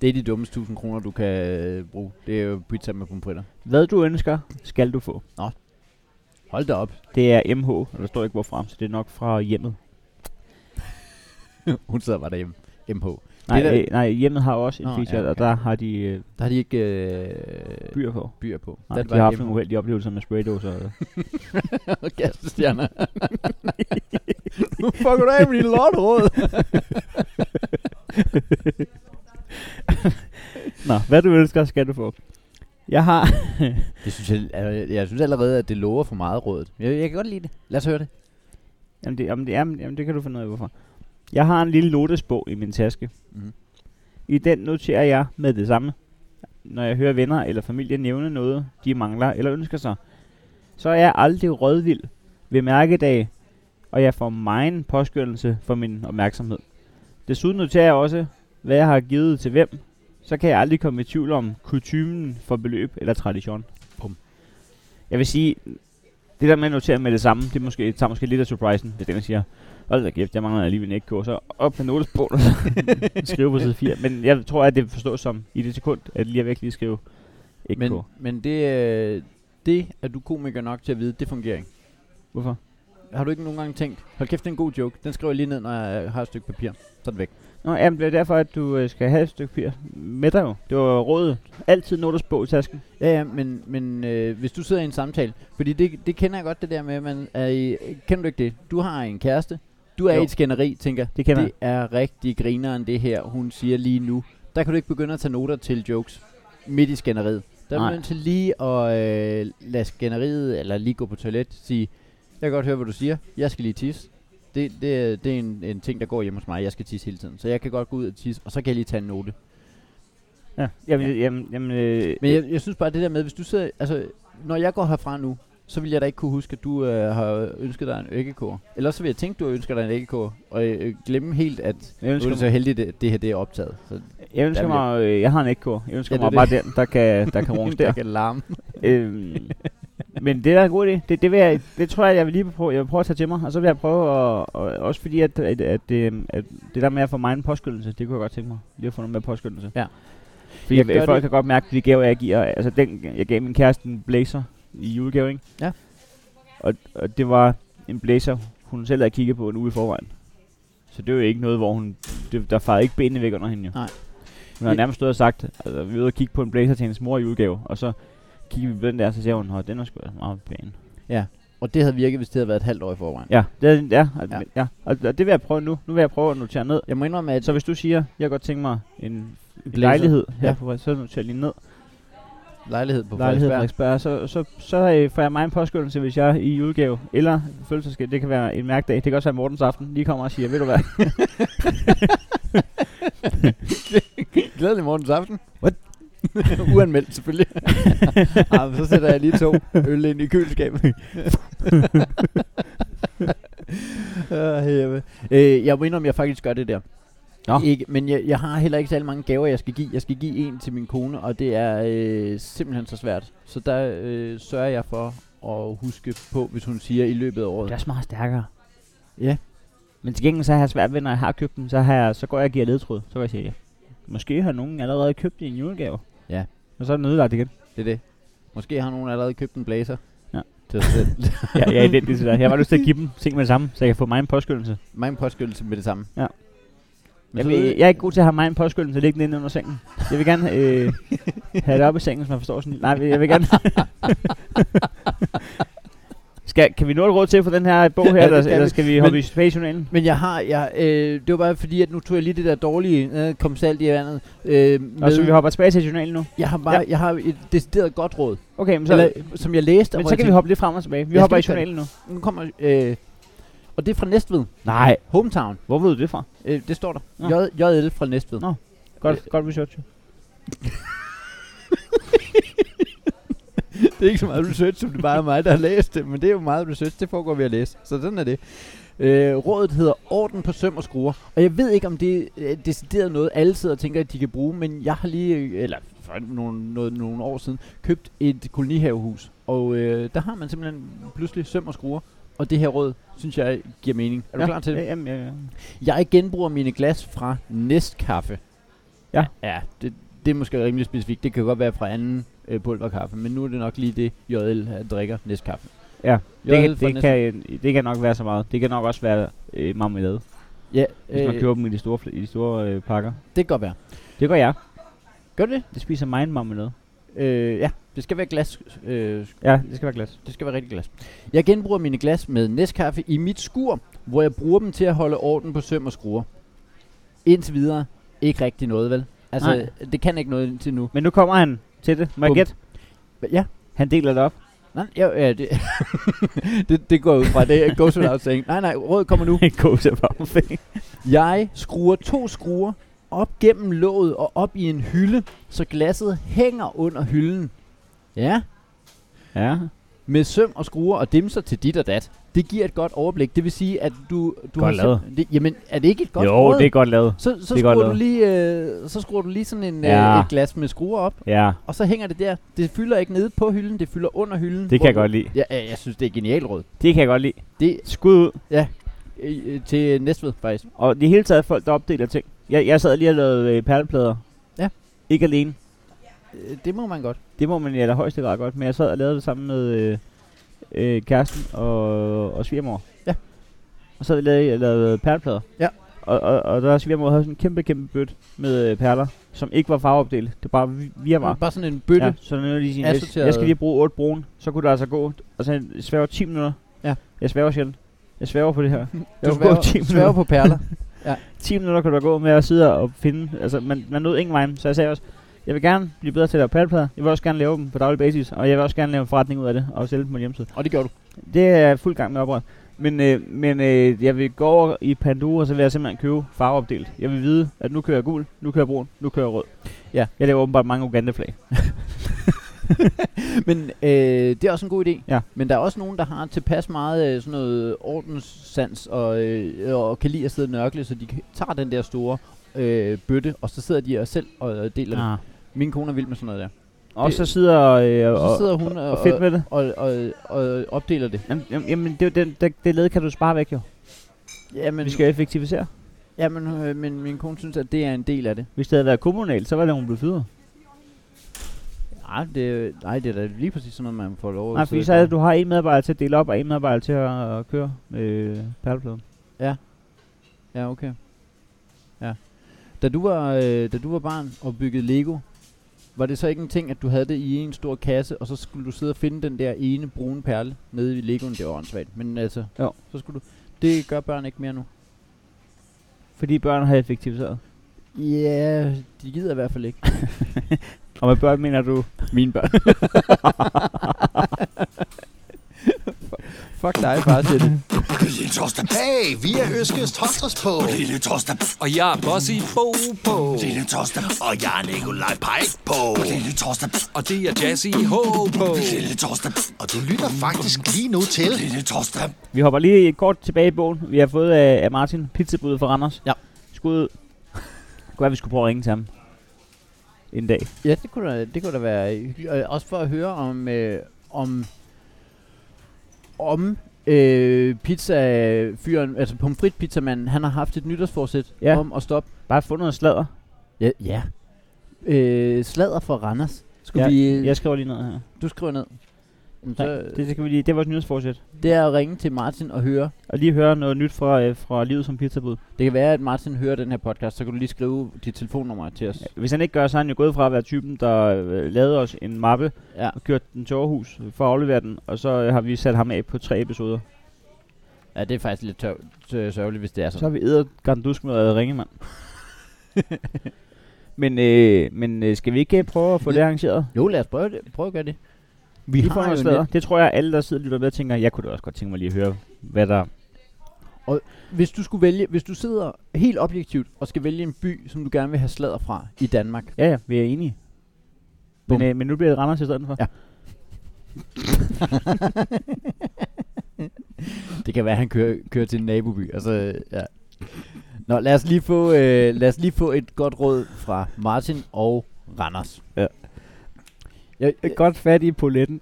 Speaker 3: det er de dummeste 1000 kroner, du kan øh, bruge. Det er jo pizza med pomfritter.
Speaker 2: Hvad du ønsker, skal du få.
Speaker 3: Hold da op.
Speaker 2: Det er MH, og der står ikke hvorfra, så det er nok fra hjemmet.
Speaker 3: Hun sidder bare derhjemme. MH.
Speaker 2: Nej,
Speaker 3: Det er
Speaker 2: der...
Speaker 3: da-
Speaker 2: øh, nej hjemmet har også en
Speaker 3: Nå,
Speaker 2: oh,
Speaker 3: ja,
Speaker 2: feature, ja, okay. og
Speaker 3: okay.
Speaker 2: der har de øh,
Speaker 3: Der har de ikke øh,
Speaker 2: byer på.
Speaker 3: byer på.
Speaker 2: Nej,
Speaker 3: Den
Speaker 2: de
Speaker 3: var
Speaker 2: har haft
Speaker 3: MH.
Speaker 2: nogle uheldige oplevelser med øh. spraydåser. og-
Speaker 3: og kastestjerner. nu fucker du af med din lortråd.
Speaker 2: Nå, hvad du ønsker, skal du få. Jeg har...
Speaker 3: Det synes jeg, jeg, jeg synes allerede, at det lover for meget rådet. Jeg, jeg kan godt lide det. Lad os høre det.
Speaker 2: Jamen det, jamen, det, jamen, jamen, det kan du finde ud af, hvorfor. Jeg har en lille notesbog i min taske.
Speaker 3: Mhm.
Speaker 2: Mm. I den noterer jeg med det samme, når jeg hører venner eller familie nævne noget, de mangler eller ønsker sig. Så er jeg aldrig rådvild ved mærkedage, og jeg får megen påskyndelse for min opmærksomhed. Desuden noterer jeg også, hvad jeg har givet til hvem, så kan jeg aldrig komme i tvivl om kutumen for beløb eller tradition.
Speaker 3: Bum.
Speaker 2: Jeg vil sige, det der med at notere med det samme, det måske, tager måske lidt af surprisen, hvis den siger, hold da kæft, jeg mangler alligevel en ægkog, så op med notesbogen og så skrive på side 4. Men jeg tror, at det forstås som i det sekund, at lige er væk lige skrive ægkog.
Speaker 3: Men, men det, øh, det er du komiker nok til at vide, det fungerer ikke.
Speaker 2: Hvorfor?
Speaker 3: Har du ikke nogen gange tænkt, hold kæft, det er en god joke. Den skriver jeg lige ned, når jeg har et stykke papir. Så er den væk.
Speaker 2: Nå, jamen, det er derfor, at du øh, skal have et stykke papir med dig jo. Det var rådet. Altid notesbog i tasken.
Speaker 3: Ja, ja, men, men øh, hvis du sidder i en samtale, fordi det, det kender jeg godt det der med, man er i, kender du ikke det? Du har en kæreste, du er jo.
Speaker 2: Jo.
Speaker 3: i et skænderi, tænker,
Speaker 2: Det kender
Speaker 3: det er rigtig grineren det her, hun siger lige nu. Der kan du ikke begynde at tage noter til jokes midt i skænderiet. Der er du
Speaker 2: Nej.
Speaker 3: nødt til lige at øh, lade skænderiet, eller lige gå på toilet, sige, jeg kan godt høre, hvad du siger, jeg skal lige tisse. Det, det, er- det er en, en ting, der går hjemme hos mig, jeg skal tisse hele tiden. Så jeg kan godt gå ud og tisse, og så kan jeg lige tage en note.
Speaker 2: Ja. Jamen, jamen, jamen, øh,
Speaker 3: Men jeg, jeg synes bare, det der med, hvis du sidder, altså, når jeg går herfra nu, så vil jeg da ikke kunne huske, at du øh, har ønsket dig en æggekår. Eller så vil jeg tænke, du har ønsket dig en æggekår, og øh, glemme helt, at
Speaker 2: jeg
Speaker 3: nu er
Speaker 2: ønsker,
Speaker 3: det så heldigt, at det her det er optaget. Så
Speaker 2: jeg ønsker
Speaker 3: Der vil
Speaker 2: mig, øh, jeg har en ægkog. Jeg ønsker
Speaker 3: Ja,
Speaker 2: ja,
Speaker 3: det er
Speaker 2: mig bare den, der kan, der kan runges der.
Speaker 3: jeg kan larme.
Speaker 2: øhm, men det der er en god idé. Det, det, vil jeg, det tror jeg, jeg vil lige prøve, jeg vil prøve at tage til mig, og så vil jeg prøve at, og, også fordi, at, at, at, øhm, at, det der med at få mig en påskyndelse, det kunne jeg godt tænke mig, lige at få noget med påskyndelse.
Speaker 3: Ja.
Speaker 2: Fordi
Speaker 3: Jeg
Speaker 2: jeg,
Speaker 3: gør
Speaker 2: folk
Speaker 3: det-
Speaker 2: kan godt mærke, at de gaver, jeg giver, altså den, jeg gav min kæreste en blazer i julegave, ikke?
Speaker 3: Ja.
Speaker 2: Og, og det var en blazer, hun selv havde kigget på en uge i forvejen. Så det var jo ikke noget, hvor hun, det, der farede ikke benene væk under hende jo.
Speaker 3: Nej.
Speaker 2: Hun har
Speaker 3: Det-
Speaker 2: nærmest stået og sagt, altså, vi er ude og kigge på en blazer til hendes mor i udgave, og så kigger vi på den der, så siger hun, at den er sgu da meget pæn.
Speaker 3: Og det havde virket, hvis det havde været et halvt år i forvejen.
Speaker 2: Ja, det er, ja, og-
Speaker 3: Ja.
Speaker 2: ja. Og, og, det vil jeg prøve nu. Nu vil jeg prøve at notere ned.
Speaker 3: Jeg må indrømme, at
Speaker 2: Så hvis du siger, jeg godt tænker mig en
Speaker 3: Blazer.
Speaker 2: lejlighed her
Speaker 3: Ja.
Speaker 2: ja. på Frederiksberg, så noterer jeg lige ned.
Speaker 3: lejlighed på
Speaker 2: Lejlighed på
Speaker 3: Frederiksberg,
Speaker 2: Frederiksberg, så, så, så øh, får jeg mig en påskyndelse, hvis jeg er i udgave. Eller fødselsdag, det kan være en mærkdag. Det kan også være Mortens aften. Lige kommer og siger, ved du hvad?
Speaker 3: glædelig morgens aften. What? Uanmeldt selvfølgelig. ah, men så sætter jeg lige to øl ind i køleskabet. Ah, herre. øh, jeg må indrømme, at jeg faktisk gør det der.
Speaker 2: Nå.
Speaker 3: Ikke, men jeg, jeg har heller ikke særlig mange gaver, jeg skal give. Jeg skal give en til min kone, og det er øh, simpelthen så svært. Så der øh, sørger jeg for at huske på, hvis hun siger i løbet af året.
Speaker 2: Det er også meget stærkere.
Speaker 3: Ja.
Speaker 2: Men til gengæld så har jeg svært ved, når jeg har købt dem, så, har jeg, så går jeg og giver ledtråd. Så kan jeg sige, ja. måske har nogen allerede købt en julegave.
Speaker 3: Ja.
Speaker 2: Og så er den ødelagt igen.
Speaker 3: Det er det. Måske har nogen allerede købt en blazer.
Speaker 2: Ja.
Speaker 3: Til sig selv.
Speaker 2: ja, jeg er identisk til dig. Jeg var lyst til at give dem ting med det samme, så jeg kan få mig en påskyndelse.
Speaker 3: Mange påskyldelser med det samme.
Speaker 2: Ja.
Speaker 3: Men
Speaker 2: Jeg,
Speaker 3: så
Speaker 2: vil,
Speaker 3: ved-
Speaker 2: jeg er ikke god til at have mig en påskyndelse liggende inde under sengen. Jeg vil gerne øh, have det op i sengen, hvis man forstår sådan. Nej, jeg vil gerne... skal, kan vi nå et råd til for den her bog her,
Speaker 3: Ja, det
Speaker 2: eller,
Speaker 3: skal
Speaker 2: eller
Speaker 3: vi.
Speaker 2: skal vi hoppe
Speaker 3: Men-
Speaker 2: i spationalen?
Speaker 3: Men jeg har, jeg, øh, det var bare fordi, at nu tog jeg lige det der dårlige, øh, kom salt i vandet. Øh,
Speaker 2: Og så vi
Speaker 3: med,
Speaker 2: hopper tilbage til journalen nu.
Speaker 3: jeg har bare, jeg har et decideret godt råd,
Speaker 2: Okay, men så,
Speaker 3: eller, som jeg læste.
Speaker 2: men
Speaker 3: hvor
Speaker 2: så
Speaker 3: jeg
Speaker 2: kan vi hoppe lidt frem og tilbage. Vi
Speaker 3: Jeg
Speaker 2: hopper i
Speaker 3: skal lige
Speaker 2: journalen nu.
Speaker 3: tænkte, Nu kommer, øh, og det er fra Næstved,
Speaker 2: Nej,
Speaker 3: hometown.
Speaker 2: hvor ved du det fra?
Speaker 3: Øh, det står der.
Speaker 2: Nå.
Speaker 3: J, JL fra Næstved.
Speaker 2: Nå. Godt, godt research.
Speaker 3: Det er ikke så meget research, som det bare er mig, der har læst det, men det er jo meget research, det foregår ved at læse. Så sådan er det. Øh, rådet hedder Orden på søm og skruer, og jeg ved ikke, om det er øh, decideret noget, alle sidder og tænker, at de kan bruge, men jeg har lige, øh, eller for nogle, noget, nogle år siden, købt et kolonihavehus, og øh, der har man simpelthen pludselig søm og skruer, og det her råd, synes jeg, giver mening. Er du klar til det?
Speaker 2: Ja, jamen, ja, ja.
Speaker 3: Jeg genbruger mine glas fra Nestkaffe.
Speaker 2: Ja.
Speaker 3: Ja, det, det er måske rimelig specifikt. Det kan godt være fra anden øh, pulverkaffe, men nu er det nok lige det, JL her drikker Nestkaffe.
Speaker 2: Ja,
Speaker 3: JL fra
Speaker 2: Det, kan, det,
Speaker 3: Nest-
Speaker 2: kan, det kan nok være så meget. Det kan nok også være øh, marmelade,
Speaker 3: ja,
Speaker 2: hvis man
Speaker 3: øh,
Speaker 2: køber dem i de store, fl- i de store øh, pakker.
Speaker 3: det kan godt være.
Speaker 2: Det gør jeg.
Speaker 3: Gør det det?
Speaker 2: Jeg spiser min marmelade.
Speaker 3: Øh, ja, det skal være glas. Øh,
Speaker 2: Ja, det skal være glas.
Speaker 3: det skal være rigtig glas. Jeg genbruger mine glas med Nestkaffe i mit skur, hvor jeg bruger dem til at holde orden på søm og skruer. Indtil videre, ikke rigtig noget, vel? Altså,
Speaker 2: Nej.
Speaker 3: det kan ikke noget indtil nu.
Speaker 2: Men nu kommer han til det. Må jeg
Speaker 3: Bum.
Speaker 2: gætte?
Speaker 3: Ja,
Speaker 2: Han deler det op.
Speaker 3: nej, ja, ja det, det, det går jeg ud fra. Det goes without saying. Nej, nej, rådet kommer nu.
Speaker 2: Goes above.
Speaker 3: Jeg skruer to skruer op gennem låget og op i en hylde, så glasset hænger under hylden. Ja,
Speaker 2: ja.
Speaker 3: med søm og skruer og dimser til dit og dat. Det giver et godt overblik. Det vil sige, at du... du
Speaker 2: Godt
Speaker 3: har
Speaker 2: lavet.
Speaker 3: sim- Det, jamen, er det ikke et godt
Speaker 2: jo,
Speaker 3: råd?
Speaker 2: det er godt lavet.
Speaker 3: Så, så,
Speaker 2: det er
Speaker 3: skruer
Speaker 2: godt
Speaker 3: du
Speaker 2: lavet.
Speaker 3: lige, øh, så skruer du lige sådan en, ja.
Speaker 2: Ja.
Speaker 3: øh, et glas med skruer op,
Speaker 2: Ja,
Speaker 3: og så hænger det der. Det fylder ikke nede på hylden, det fylder under hylden.
Speaker 2: det
Speaker 3: hvor
Speaker 2: kan jeg
Speaker 3: du-
Speaker 2: godt lide.
Speaker 3: Ja, ja, jeg synes, det er genialt råd.
Speaker 2: Det kan jeg godt lide.
Speaker 3: Det
Speaker 2: Skud ud.
Speaker 3: øh, øh, til Næstved, faktisk.
Speaker 2: Og det hele taget folk, der opdeler ting. Jeg, jeg sad lige og lavede øh, perleplader.
Speaker 3: Ja.
Speaker 2: Ikke alene.
Speaker 3: Øh, Det må man godt.
Speaker 2: Det må man i allerhøjeste grad godt. Men jeg sad og lavede det sammen med øh, øh, kæresten og, og svigermor.
Speaker 3: Ja.
Speaker 2: Og så lavede jeg lavede perleplader.
Speaker 3: Ja.
Speaker 2: Og, og, og der svigermor havde sådan en kæmpe, kæmpe bødt med øh, perler, som ikke var farveopdelt. Det var bare vi- virvar.
Speaker 3: Bare sådan en bøtte.
Speaker 2: Ja, så nu er lige sige, jeg,
Speaker 3: Assorteret.
Speaker 2: jeg skal lige bruge 8 brune, så kunne det altså gå, og så svæver 10 minutter.
Speaker 3: Ja.
Speaker 2: Jeg svæver sjældent. Jeg svæver på det her.
Speaker 3: Du
Speaker 2: Jeg kunne gå 10
Speaker 3: sværger, sværger på
Speaker 2: minutter.
Speaker 3: perler.
Speaker 2: 10 minutter kunne der gå med at sidde og finde, altså man, man nåede ingen vej, så jeg sagde også, jeg vil gerne blive bedre til at lave paddelplader, jeg vil også gerne lave dem på daglig basis, og jeg vil også gerne lave en forretning ud af det, og sælge dem på hjemmesiden.
Speaker 3: og det gjorde du.
Speaker 2: Det er jeg fuld gang med oprør. Men, øh, men øh, jeg vil gå over i Pandora, og så vil jeg simpelthen købe farveopdelt. Jeg vil vide, at nu kører jeg gul, nu kører jeg brun, nu kører jeg rød.
Speaker 3: Ja.
Speaker 2: Jeg laver åbenbart mange Uganda-flag.
Speaker 3: Men øh, det er også en god idé.
Speaker 2: Ja.
Speaker 3: Men der er også nogen, der har tilpas meget øh, sådan noget ordenssans og, øh, og kan lide at sidde og nørkle, så de kan- tager den der store øh, bøtte, og så sidder de og selv og øh, deler ja. det. Min kone er vild med sådan noget der.
Speaker 2: Og så sidder, øh, og,
Speaker 3: Så sidder hun og,
Speaker 2: og fedt med det.
Speaker 3: og, og, og, og opdeler det.
Speaker 2: Jamen, jamen, jamen det, er jo den, det, det led kan du spare væk jo. Men
Speaker 3: Jamen,
Speaker 2: vi skal effektivisere.
Speaker 3: jamen øh, men min kone synes, at det er en del af det.
Speaker 2: Hvis det havde været kommunalt, så var det, hun blev fyret.
Speaker 3: Nej, det, nej, det er da lige præcis sådan noget, man får lov
Speaker 2: Nej,
Speaker 3: at sidde
Speaker 2: fordi så havde
Speaker 3: og-
Speaker 2: du har en medarbejder til at dele op, og en medarbejder til at, at køre øh, perlepladen.
Speaker 3: Ja, okay. Ja. Da du var, øh, da du var barn og byggede Lego, var det så ikke en ting, at du havde det i en stor kasse, og så skulle du sidde og finde den der ene brune perle nede i Legoen? Det var åndssvagt, men altså,
Speaker 2: Jo.
Speaker 3: så skulle du... Det gør børn ikke mere nu.
Speaker 2: Fordi børn har effektiviseret.
Speaker 3: Ja, yeah, de gider i hvert fald ikke.
Speaker 2: Og med børn mener du...
Speaker 3: Mine børn. Fuck dig, far, siger det.
Speaker 4: Lille Torsten. Hey, vi er Øskes Torsters på. Lille Torsten.
Speaker 5: Og jeg er Bossy Bo på.
Speaker 4: Lille Torsten. Og jeg er Nikolaj Pajk på. Lille Torsten.
Speaker 5: Og det er Jazzy H på.
Speaker 4: Lille Torsten. Og du lytter faktisk lige nu til. Lille Torsten.
Speaker 2: Vi hopper lige kort tilbage i bogen. Vi har fået øh, af, af Martin pizzabud fra Randers.
Speaker 3: Ja.
Speaker 2: Skud. ud. Det kunne være, at vi skulle prøve at ringe til ham. En dag.
Speaker 3: Ja, det kunne da, det kunne da være hyggeligt. Og også for at høre om, øh, om, om øh, pizzafyren, altså pomfrit pizzamanden, han har haft et nytårsforsæt ja.
Speaker 2: Ja.
Speaker 3: om at stoppe.
Speaker 2: Bare få noget sladder.
Speaker 3: Ja. ja. Øh, slader for Randers. Skal
Speaker 2: Ja,
Speaker 3: ja, vi, øh,
Speaker 2: Jeg skriver lige ned her.
Speaker 3: Du skriver ned. Jamen,
Speaker 2: Nej,
Speaker 3: Så,
Speaker 2: det, det, kan vi lige, det er vores nyhedsforsæt.
Speaker 3: det er at ringe til Martin og høre.
Speaker 2: Og lige høre noget nyt fra, øh, fra livet som pizzabud.
Speaker 3: Det kan være, at Martin hører den her podcast, så kan du lige skrive dit telefonnummer til os.
Speaker 2: Hvis han ikke gør, så er han jo gået fra at være typen, der øh, lavede os en mappe
Speaker 3: Ja.
Speaker 2: og kørte den til Aarhus for at aflevere den, og så øh, har vi sat ham af på tre episoder.
Speaker 3: Ja, det er faktisk lidt tør- tør- sørgeligt, hvis det er
Speaker 2: Så
Speaker 3: sådan.
Speaker 2: har vi æder Gandusk med at ringe, mand. men øh, men øh, skal vi ikke øh, prøve at få det arrangeret?
Speaker 3: Jo, lad os prøve, det. prøve at gøre det.
Speaker 2: Vi
Speaker 3: har
Speaker 2: får
Speaker 3: jo
Speaker 2: noget
Speaker 3: net-
Speaker 2: sladder. Det tror jeg, alle der sidder og lytter med, tænker, jeg kunne da også godt tænke mig lige at høre, hvad der...
Speaker 3: Hvis du skulle vælge, hvis du sidder helt objektivt og skal vælge en by, som du gerne vil have sladder fra i Danmark.
Speaker 2: Ja, ja, vi er enige. Men,
Speaker 3: Bum.
Speaker 2: øh, men nu bliver det Randers i stedet for.
Speaker 3: Ja. det kan være, at han kører, kører til en naboby. Altså, ja. Nå, lad os, lige få, øh, lad os lige få et godt råd fra Martin og Randers.
Speaker 2: Ja.
Speaker 3: Jeg, jeg,
Speaker 2: Godt fat i poletten.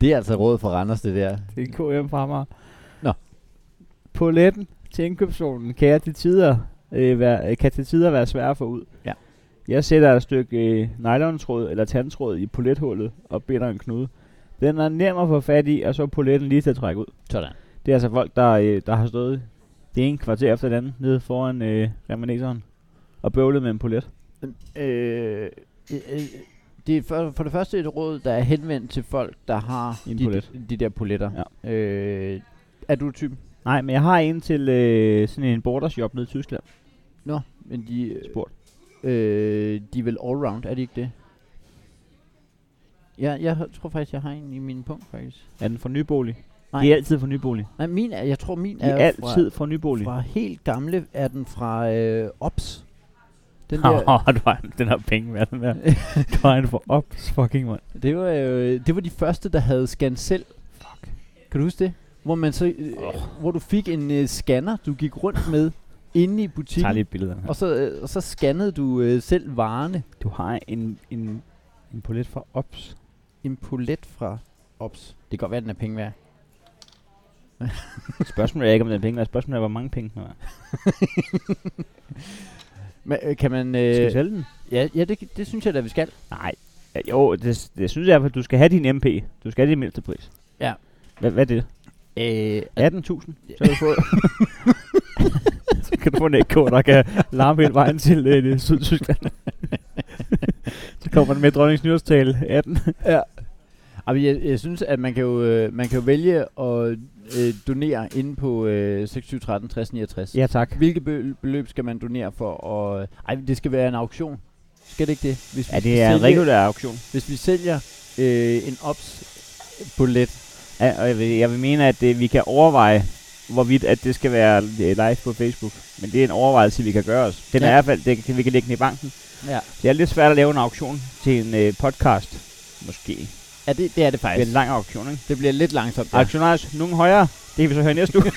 Speaker 3: det er altså råd fra Randers, det der.
Speaker 2: Det er KM fra mig.
Speaker 3: Nå.
Speaker 2: Poletten til indkøbszonen kan, jeg til tider, øh, være, øh, kan til tider være svær at få ud.
Speaker 3: Ja.
Speaker 2: Jeg sætter et stykke øh, nylontråd eller tandtråd i polethullet og binder en knude. Den er nem at få fat i, og så er poletten lige til at trække ud.
Speaker 3: Sådan.
Speaker 2: Det er altså folk, der, øh, der har stået det ene kvarter efter den anden nede foran øh, remaneseren og bøvlet med en polet.
Speaker 3: Øh, øh, øh, det er for, for det første et råd, der er henvendt til folk, der har
Speaker 2: En
Speaker 3: de,
Speaker 2: polet.
Speaker 3: de der poletter. Ja. Øh, er du typen?
Speaker 2: Nej, men jeg har en til øh, sådan en bordershop nede i Tyskland.
Speaker 3: Nå, men de, øh,
Speaker 2: spurgt.
Speaker 3: øh, de er vel allround, er de ikke det? Ja, jeg har- tror faktisk, jeg har en i min punkt, faktisk.
Speaker 2: Er den fra nybolig?
Speaker 3: Nej.
Speaker 2: De er altid fra nybolig.
Speaker 3: Nej, min er, jeg tror min
Speaker 2: De
Speaker 3: er,
Speaker 2: er altid fra
Speaker 3: fra,
Speaker 2: nybolig.
Speaker 3: fra helt gamle, er den fra øh, Ops. Den der,
Speaker 2: Åh, du har en- den her penge værd, den der. Du har en for ops fucking mand.
Speaker 3: det, var, øh, det var de første, der havde scan selv. Fuck. Kan du huske det? Hvor, man så, øh, hvor du fik en øh, scanner, du gik rundt med inde i
Speaker 2: Tag lige
Speaker 3: butikken,
Speaker 2: et billede af den her.
Speaker 3: og så, øh, og så scannede du øh, selv varerne.
Speaker 2: Du har en, en, en polet fra ops.
Speaker 3: En polet fra Ops. Det kan godt være, den er penge værd.
Speaker 2: Spørgsmålet er ikke, om den er penge værd. Spørgsmålet er, hvor mange penge den er værd.
Speaker 3: Men, øh, kan man...
Speaker 2: Skal vi
Speaker 3: Øh,
Speaker 2: sælge den?
Speaker 3: ja, ja det, det synes jeg da, vi skal.
Speaker 2: Nej. Ja, Jo, det, det synes jeg i hvert fald, du skal have din MP. Du skal have din mindste pris.
Speaker 3: Ja.
Speaker 2: Hvad, hvad er det?
Speaker 3: Øh,
Speaker 2: 18.000? Så kan du få... så kan du få en ekko, der kan larme hele vejen til øh, det Sydtyskland. så kommer den med dronningens nyårstale 18.
Speaker 3: altså, jeg, jeg synes, at man kan jo, øh, man kan jo vælge at øh, donere inde på øh, 26, 13, 60, 69.
Speaker 2: Ja tak.
Speaker 3: Hvilke bø- beløb skal man donere for? Og, ej, det skal være en auktion. Skal det ikke det? Hvis
Speaker 2: Ja,
Speaker 3: vi
Speaker 2: det er en
Speaker 3: sælger-
Speaker 2: regulær auktion.
Speaker 3: Hvis vi sælger øh, en ops på let.
Speaker 2: Ja, og jeg vil, jeg vil mene, at det, vi kan overveje, hvorvidt at det skal være øh, live på Facebook. Men det er en overvejelse, vi kan gøre os. Den
Speaker 3: Ja.
Speaker 2: er i hvert fald, det, kan- vi kan lægge den i banken.
Speaker 3: Ja.
Speaker 2: Det er lidt svært at lave en auktion til en øh, podcast, måske. Det
Speaker 3: ja det, det er det
Speaker 2: er
Speaker 3: faktisk.
Speaker 2: en lang auktion, ikke?
Speaker 3: Det bliver lidt langsomt.
Speaker 2: Ja. Aktionarius, nogen højere. Det kan vi så høre i næste uge.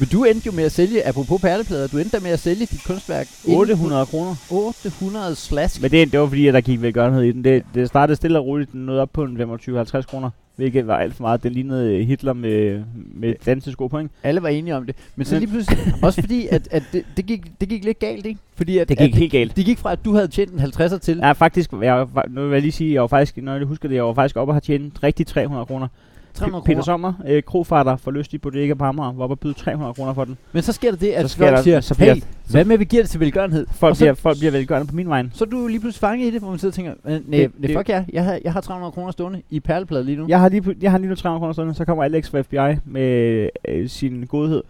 Speaker 3: Men du endte jo med at sælge, apropos perleplader, du endte da med at sælge dit kunstværk. inde på
Speaker 2: 800 kroner.
Speaker 3: 800 slask.
Speaker 2: Men det, det var fordi, at der gik velgørenhed i den. Det, det startede stille og roligt. Den nåede op på en 25-50 kroner. Hvilket var alt for meget. Det lignede øh, Hitler med, med dansesko på, ikke?
Speaker 3: Alle var enige om det. Men så
Speaker 2: Men-
Speaker 3: lige pludselig, også fordi, at, at det, det, gik, det gik lidt galt, ikke? Fordi at,
Speaker 2: Det gik
Speaker 3: at
Speaker 2: helt galt.
Speaker 3: det gik fra, at du havde tjent en 50'er til.
Speaker 2: Ja, faktisk, jeg, var fa- nu vil jeg lige sige, jeg var faktisk, når jeg husker det, jeg var faktisk oppe og har tjent rigtig 300 kroner.
Speaker 3: 300
Speaker 2: Pe- Peter
Speaker 3: kroner.
Speaker 2: Sommer, øh, krofatter for lystig bodega på Amager, var oppe og byde 300 kroner for den.
Speaker 3: Men så sker der det, at
Speaker 2: sker
Speaker 3: folk
Speaker 2: der-
Speaker 3: siger,
Speaker 2: så
Speaker 3: så
Speaker 2: bliver-
Speaker 3: hey, hvad med, at vi giver det til velgørenhed?
Speaker 2: Folk,
Speaker 3: Og
Speaker 2: så, bliver,
Speaker 3: så,
Speaker 2: folk bliver velgørende på min vej.
Speaker 3: så er du jo lige pludselig fanget i det, hvor man sidder og tænker, "Øh, nej,
Speaker 2: Det-
Speaker 3: det,
Speaker 2: det-
Speaker 3: fuck jer, jeg har, jeg har 300 kroner stående i perleplade lige nu.
Speaker 2: Jeg har lige, pl- jeg har lige nu 300 kroner sådan, så kommer Alex fra FBI med øh, sin godhed,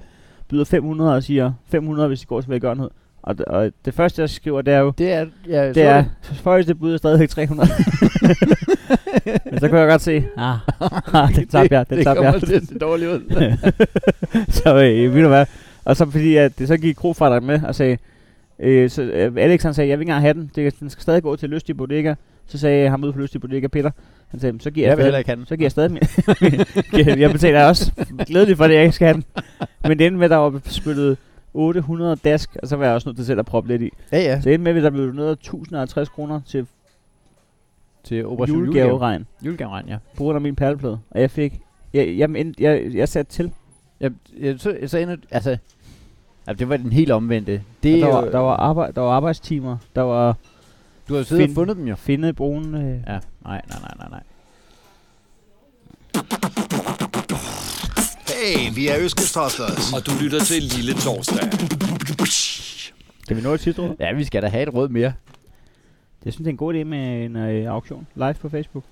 Speaker 2: byder 500 og siger 500, hvis det går til velgørenhed. Og, d- og det første, jeg skriver, det er jo,
Speaker 3: Det er, ja,
Speaker 2: det er, højeste bud er stadigvæk 300. Men så kunne jeg godt se, ah, ah den tabte jeg, den
Speaker 3: det
Speaker 2: tabte
Speaker 3: kommer
Speaker 2: jeg.
Speaker 3: til at se dårligt ud.
Speaker 2: så øh, ved du hvad? Og så fordi, at det så gik krofatteren med og sagde, øh, så, øh, Alex han sagde, jeg vil ikke engang have den, det, den skal stadig gå til lystige bodega. Så sagde ham ude for lystige bodega, Peter, han sagde, "Men så giver
Speaker 3: jeg
Speaker 2: jeg,
Speaker 3: vil
Speaker 2: stadig,
Speaker 3: heller ikke have den.
Speaker 2: så giver jeg stadig min, Giver- jeg betaler også glædeligt for det, jeg ikke skal have den. Men det endte med, at der var spyttet 800 dask, og så var jeg også nødt til selv at proppe lidt i.
Speaker 3: Ja, ja.
Speaker 2: Så endte med, at der blev doneret 1050 kroner til
Speaker 3: Til Operation Julegave.
Speaker 2: julegaveregn
Speaker 3: Julegaveregn, ja.
Speaker 2: på grund af min perleplade. Og jeg fik, jeg, jeg, jeg, jeg, jeg satte til.
Speaker 3: Ja, ja, så, så ender, altså, ja, det var den helt omvendte.
Speaker 2: Og
Speaker 3: Det,
Speaker 2: Der
Speaker 3: er
Speaker 2: var,
Speaker 3: jo-
Speaker 2: der, var arbejde, der var arbejdstimer, der var
Speaker 3: du har jo siddet og
Speaker 2: find-
Speaker 3: fundet dem jo.
Speaker 2: finde brugen. Øh.
Speaker 3: Ja, nej, nej, nej, nej, nej.
Speaker 4: Hey, vi er Øskestoftes.
Speaker 5: Og du lytter til Lille Torsdag.
Speaker 2: Kan vi nå et sidste råd?
Speaker 3: Ja, vi skal da have et råd mere.
Speaker 2: Jeg synes, det er en god idé med en øh, auktion live på Facebook.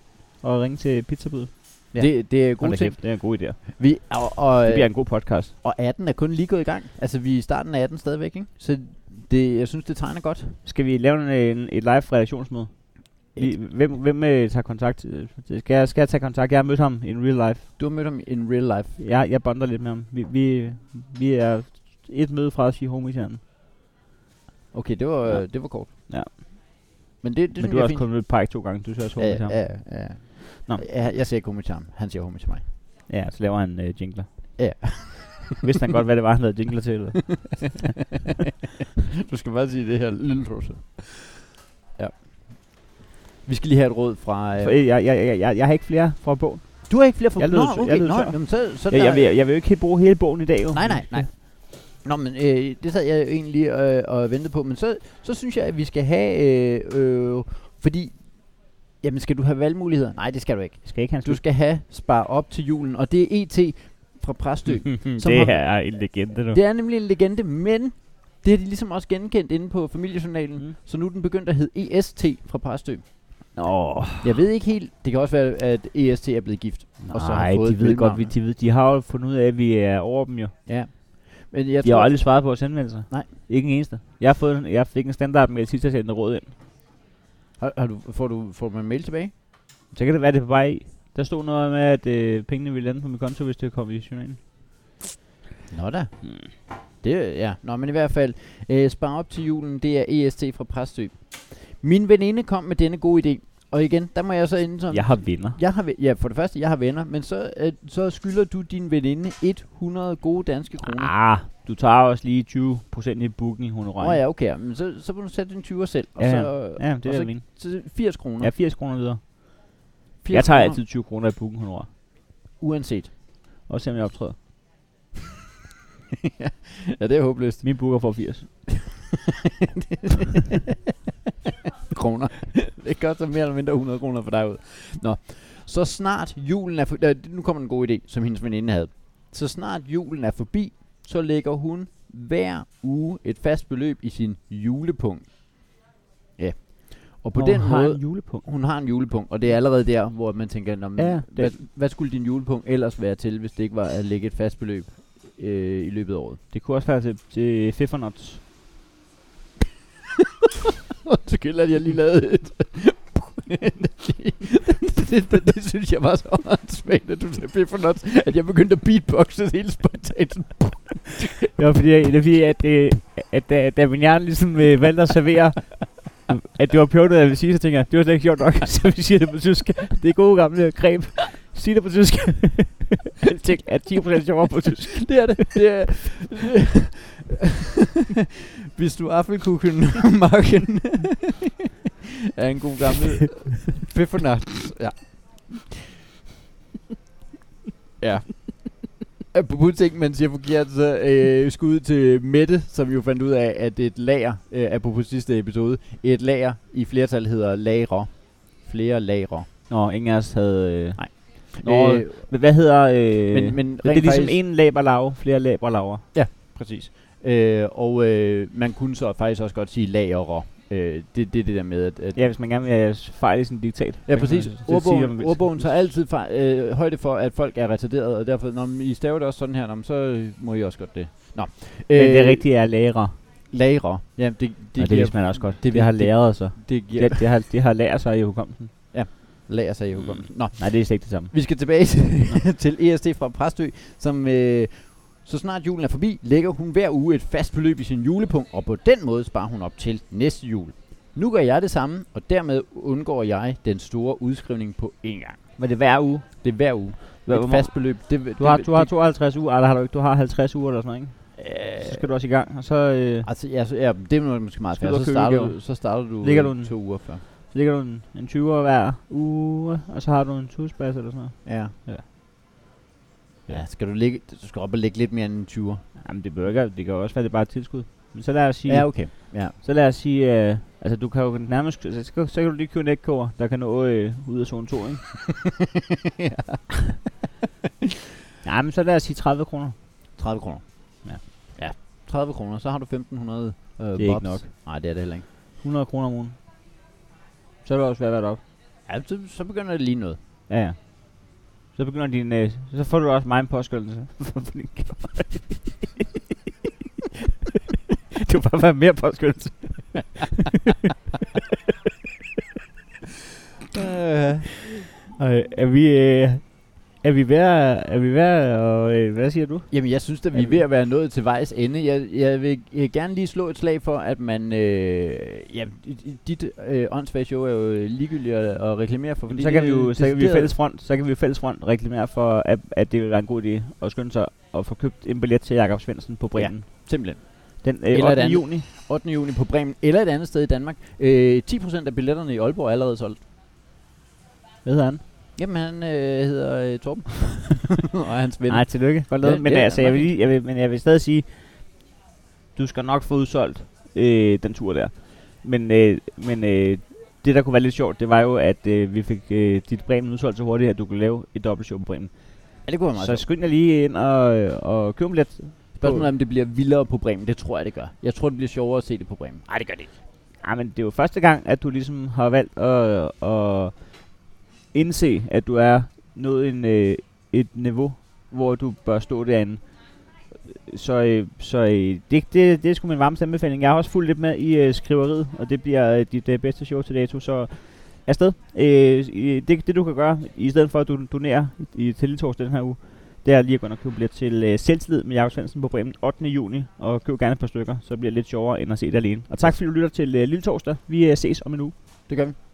Speaker 2: Og ringe til pizzabud.
Speaker 3: Ja. Det, det er gode ting.
Speaker 2: det er en god Øh, idé. Det
Speaker 3: Vi, og, og,
Speaker 2: bliver en god podcast.
Speaker 3: og 18 er kun lige gået i gang. Altså, vi er i starten af 18 stadigvæk, ikke? Så det, jeg synes, det tegner godt.
Speaker 2: Skal vi lave en, øh, en, et live redaktionsmøde? Vi, hvem hvem øh, tager kontakt? Øh, Skal jeg, skal jeg tage kontakt? Jeg har mødt ham in real life.
Speaker 3: Du har mødt ham in real life.
Speaker 2: Jeg, jeg bonder lidt med ham. Vi, vi, vi er et møde fra at sige homies hernede.
Speaker 3: Okay, det var,
Speaker 2: Ja.
Speaker 3: ja. det var kort.
Speaker 2: Ja.
Speaker 3: Men det, det synes
Speaker 2: Men du
Speaker 3: jeg
Speaker 2: har
Speaker 3: er
Speaker 2: også
Speaker 3: fint.
Speaker 2: kun mødt Pike to gange. Du ser også homies
Speaker 3: ja,
Speaker 2: ham.
Speaker 3: ja, ja, ja.
Speaker 2: Nå.
Speaker 3: Ja, jeg siger ikke homie til ham. Han siger homie til mig.
Speaker 2: Ja, så laver han øh, jingler.
Speaker 3: Ja.
Speaker 2: Vidste han godt, hvad det var, han lavede jingler til? Eller?
Speaker 3: du skal bare sige det her lille trusse. Ja. Vi skal lige have et råd fra... Øh,
Speaker 2: For, øh, jeg, jeg, jeg, jeg, jeg har ikke flere fra bogen.
Speaker 3: Du har ikke flere for...
Speaker 2: Jeg lød tør-
Speaker 3: Nå, okay.
Speaker 2: jeg lød
Speaker 3: Nå,
Speaker 2: tør.
Speaker 3: jamen, så, så
Speaker 2: Jeg,
Speaker 3: der-
Speaker 2: jeg, vil, jeg vil jo ikke helt bruge hele bogen i dag. Jo.
Speaker 3: Nej, nej, nej. Nå, men øh, det sad jeg jo egentlig øh, og ventede på. Men så, så synes jeg, at vi skal have... Øh, øh, fordi... Jamen, skal du have valgmuligheder? Nej, det skal du ikke.
Speaker 2: Skal ikke han
Speaker 3: Du skal have spar op til julen, og det er ET fra Præstø. som
Speaker 2: det
Speaker 3: har-
Speaker 2: her er en legende nu.
Speaker 3: det er nemlig en legende, men det har de ligesom også genkendt inde på familiejournalen.
Speaker 2: Mm.
Speaker 3: Mm. Så nu er den begyndt at hedde EST fra Præstø.
Speaker 2: Nå,
Speaker 3: Jeg ved ikke helt. Det kan også være, at EST er blevet gift. Og så har
Speaker 2: nej,
Speaker 3: fået
Speaker 2: de ved godt, vi,
Speaker 3: mellemnavnet.
Speaker 2: de, ved, de har jo fundet ud af, at vi er over dem jo.
Speaker 3: Ja. Men jeg
Speaker 2: Jeg har
Speaker 3: tror,
Speaker 2: aldrig svaret på vores henvendelser.
Speaker 3: Nej.
Speaker 2: Ikke en eneste. Jeg, har fået, en- jeg fik en standard med sidst, jeg sendte råd ind.
Speaker 3: har, har du, får, du, får man mail tilbage?
Speaker 2: Så kan det være, det er på vej i. Der stod noget med, at øh, pengene ville lande på min konto, hvis det kom i journalen.
Speaker 3: Nå da.
Speaker 2: Mm.
Speaker 3: Det, er- ja. Nå, men i hvert fald, øh, spar op til julen, det er EST fra Præstø. Min veninde kom med denne gode idé, og igen, der må jeg så ende som...
Speaker 2: Jeg har vinder.
Speaker 3: Jeg har, ve- ja, for det første, jeg har venner, men så, øh, så skylder du din veninde 100 gode danske kroner.
Speaker 2: Ah, du tager også lige 20% i booking i honoraren.
Speaker 3: Åh ja, okay, men så, så må du sætte din 20'er selv, og
Speaker 2: Ja,
Speaker 3: så,
Speaker 2: Ja, det
Speaker 3: og
Speaker 2: er
Speaker 3: så
Speaker 2: jeg mene.
Speaker 3: så 80 kroner.
Speaker 2: Ja, 80 kroner videre.
Speaker 3: 80
Speaker 2: jeg tager
Speaker 3: kroner,
Speaker 2: altid 20 kroner i booking honorar.
Speaker 3: Uanset.
Speaker 2: Også selvom jeg optræder.
Speaker 3: Ja, det er håbløst.
Speaker 2: Min booker får 80.
Speaker 3: kroner. det koster mere eller mindre 100 kroner for dig ud. Nå, så snart julen er forbi, nu kommer en god idé, som hendes veninde havde. Så snart julen er forbi, så lægger hun hver uge et fast beløb i sin julepunkt. Ja. Og på
Speaker 2: Og
Speaker 3: den
Speaker 2: hun har
Speaker 3: måde,
Speaker 2: en julepunkt.
Speaker 3: hun har en julepunkt, og det er allerede der, hvor man tænker, Nå, men,
Speaker 2: Ja,
Speaker 3: ja,
Speaker 2: det-
Speaker 3: hvad, hvad skulle din julepunkt ellers være til, hvis det ikke var at lægge et fast beløb øh, i løbet af året?
Speaker 2: Det kunne også være til, til Fiffernuts.
Speaker 3: Undskyld, at jeg lige lavede et... det, det, det, det, synes jeg var så åndssvagt, at du sagde Biffer Nuts, at jeg begyndte at beatboxe helt spontant.
Speaker 2: Det var fordi, det var fordi at, øh, at da, da min hjerne ligesom øh, valgte at servere, at det var pjottet, jeg ville sige, så tænkte jeg, det var slet ikke sjovt nok, så vi siger det på tysk. Det er gode gamle greb. Sig det på tysk. Jeg tænkte, at 10% sjovere på tysk.
Speaker 3: det er det. det er Hvis du affelkukken marken er en god gammel Biffer Nuts, ja. Ja. Apropos ting, man siger forkert, så øh, skud til Mette, som jo fandt ud af, at et lager, øh, apropos sidste episode, et lager i flertal hedder lager. Flere lager.
Speaker 2: Nå, ingen af os havde... Øh,
Speaker 3: Nej.
Speaker 2: Nå,
Speaker 3: Øh,
Speaker 2: men hvad hedder... Øh,
Speaker 3: men, men
Speaker 2: det er ligesom en laber lav, flere laber laver.
Speaker 3: Præcis. Øh, og øh, man kunne så faktisk også godt sige lagerer. Øh, det er det, det der med, at... at
Speaker 2: Ja, hvis man gerne vil have fejl i sin diktat.
Speaker 3: Ja, præcis.
Speaker 2: Det siger, hvad man
Speaker 3: Ordbogen,
Speaker 2: vil.
Speaker 3: ordbogen tager altid fra, øh, højde for, at folk er retarderede, og derfor, når I staver det også sådan her, nå, men så øh, må I også godt det. Nå. Øh,
Speaker 2: Men det rigtige er lærer.
Speaker 3: Lagerer. Ja, det, det,
Speaker 2: Det, ligesom- og det
Speaker 3: giver,
Speaker 2: vidste man også godt.
Speaker 3: det
Speaker 2: Det,
Speaker 3: vil-
Speaker 2: det har
Speaker 3: det-
Speaker 2: læret sig.
Speaker 3: det giver
Speaker 2: Det, det, har, det har lært sig i hukommelsen.
Speaker 3: lager sig i hukommelsen. Nå,
Speaker 2: Nej, det er slet ikke det samme.
Speaker 3: vi skal tilbage til, til ESD fra Præstø, som øh, så snart julen er forbi, lægger hun hver uge et fast beløb i sin julepunkt, og på den måde sparer hun op til næste jul. Nu gør jeg det samme, og dermed undgår jeg den store udskrivning på én gang.
Speaker 2: Men det er hver uge.
Speaker 3: Det er hver uge.
Speaker 2: Hver,
Speaker 3: et fast beløb. Det, vil-
Speaker 2: du, har,
Speaker 3: det,
Speaker 2: du har
Speaker 3: det,
Speaker 2: 52 uger, eller har du ikke? Du har 50 uger eller sådan noget, ikke?
Speaker 3: øh,
Speaker 2: Så skal du også i gang, og så, øh,
Speaker 3: altså, ja, så, ja, det er måske meget
Speaker 2: Skal
Speaker 3: fair.
Speaker 2: du
Speaker 3: Så
Speaker 2: også købe
Speaker 3: starter
Speaker 2: julegaver?
Speaker 3: du, så starter du,
Speaker 2: Ligger
Speaker 3: øh,
Speaker 2: du den?
Speaker 3: to uger før.
Speaker 2: så ligger du en, en 20'er hver uge, og så har du en tusbas eller sådan noget.
Speaker 3: Ja.
Speaker 2: Ja.
Speaker 3: Ja, skal du, ligge, du skal op og lægge lidt mere end en 20'er.
Speaker 2: Jamen det bør ikke, det kan jo også være, det er bare et tilskud. Men så lad os sige,
Speaker 3: Ja, okay. Ja.
Speaker 2: så lad os sige øh, altså du kan jo nærmest, så, så, så kan du lige købe en ægkoger, der kan nå øh, ud af zone 2, ikke?
Speaker 3: Ja.
Speaker 2: Nej, men så lad os sige 30 kroner.
Speaker 3: 30 kroner.
Speaker 2: Ja.
Speaker 3: ja. 30 kroner, så har du 1500 øh, Det
Speaker 2: er ikke nok.
Speaker 3: Nej, det er det heller ikke.
Speaker 2: 100 kroner om ugen. Så er det også værd at være op.
Speaker 3: Ja, så, så begynder det lige noget.
Speaker 2: Ja, ja. Så begynder din, øh, så får du også mig en påskyndelse. du kan bare være mere påskyndelse.
Speaker 3: Øh.
Speaker 2: Øh, er vi, øh, er vi ved, at- er vi ved, at- og øh, hvad siger du?
Speaker 3: Jamen, jeg synes, at vi er ved at være nået til vejs ende. Jeg, jeg vil øh, gerne lige slå et slag for, at man... Øh, ja, i- i- dit øh, åndssvage show er jo ligegyldigt at, at reklamere for. fordi
Speaker 2: Så
Speaker 3: det
Speaker 2: kan vi
Speaker 3: er
Speaker 2: jo, så kan vi i
Speaker 3: decideret-
Speaker 2: fælles front, så kan vi i fælles front reklamere for, at, at det vil være en god idé at skynde sig og få købt en billet til Jakob Svendsen på Bremen.
Speaker 3: Simpelthen.
Speaker 2: Den øh,
Speaker 3: Eller et
Speaker 2: 8.
Speaker 3: andet.
Speaker 2: juni.
Speaker 3: 8. juni på Bremen eller et andet sted i Danmark. Øh, 10% af billetterne i Aalborg er allerede solgt.
Speaker 2: Hvad hedder han?
Speaker 3: Jamen, han øh, hedder øh, Torben. Og hans ven.
Speaker 2: Nej, tillykke. Godt lavet.
Speaker 3: Ja,
Speaker 2: Ja, men
Speaker 3: det er
Speaker 2: altså, jeg
Speaker 3: meget
Speaker 2: vil, lige, jeg vil, men jeg vil stadig sige, du skal nok få udsolgt øh, den tur der. Men, øh, men øh, det, der kunne være lidt sjovt, det var jo, at øh, vi fik øh, dit Bremen udsolgt så hurtigt, at du kunne lave et dobbeltshow på Bremen.
Speaker 3: Ja, det kunne være meget
Speaker 2: Så skynd jer lige ind og, øh, og køb en billet.
Speaker 3: Spørgsmålet er, om det bliver vildere på Bremen. Det tror jeg, det gør. Jeg tror, det bliver sjovere at se det på Bremen. Nej, det gør det ikke.
Speaker 2: Ja, men det er jo første gang, at du ligesom har valgt at, at indse, at du er nået en, øh, et niveau, hvor du bør stå derinde. så, øh, så øh, det, det, det er sgu min varmeste anbefaling. Jeg har også fulgt lidt med i øh, skriveriet, og det bliver øh, dit øh, bedste show til dato, så afsted. Øh, i- det, det du kan gøre, i stedet for at du donerer i til Lille Torsdag den her uge, det er lige at gå ind og købe billet til øh, Selvtillid med Jakob Svendsen på Bremen 8. juni, og køb gerne et par stykker, så bliver det lidt sjovere end at se det alene. Og tak fordi du lytter til øh, Lille Torsdag. Vi øh, ses om en uge.
Speaker 3: Det gør vi.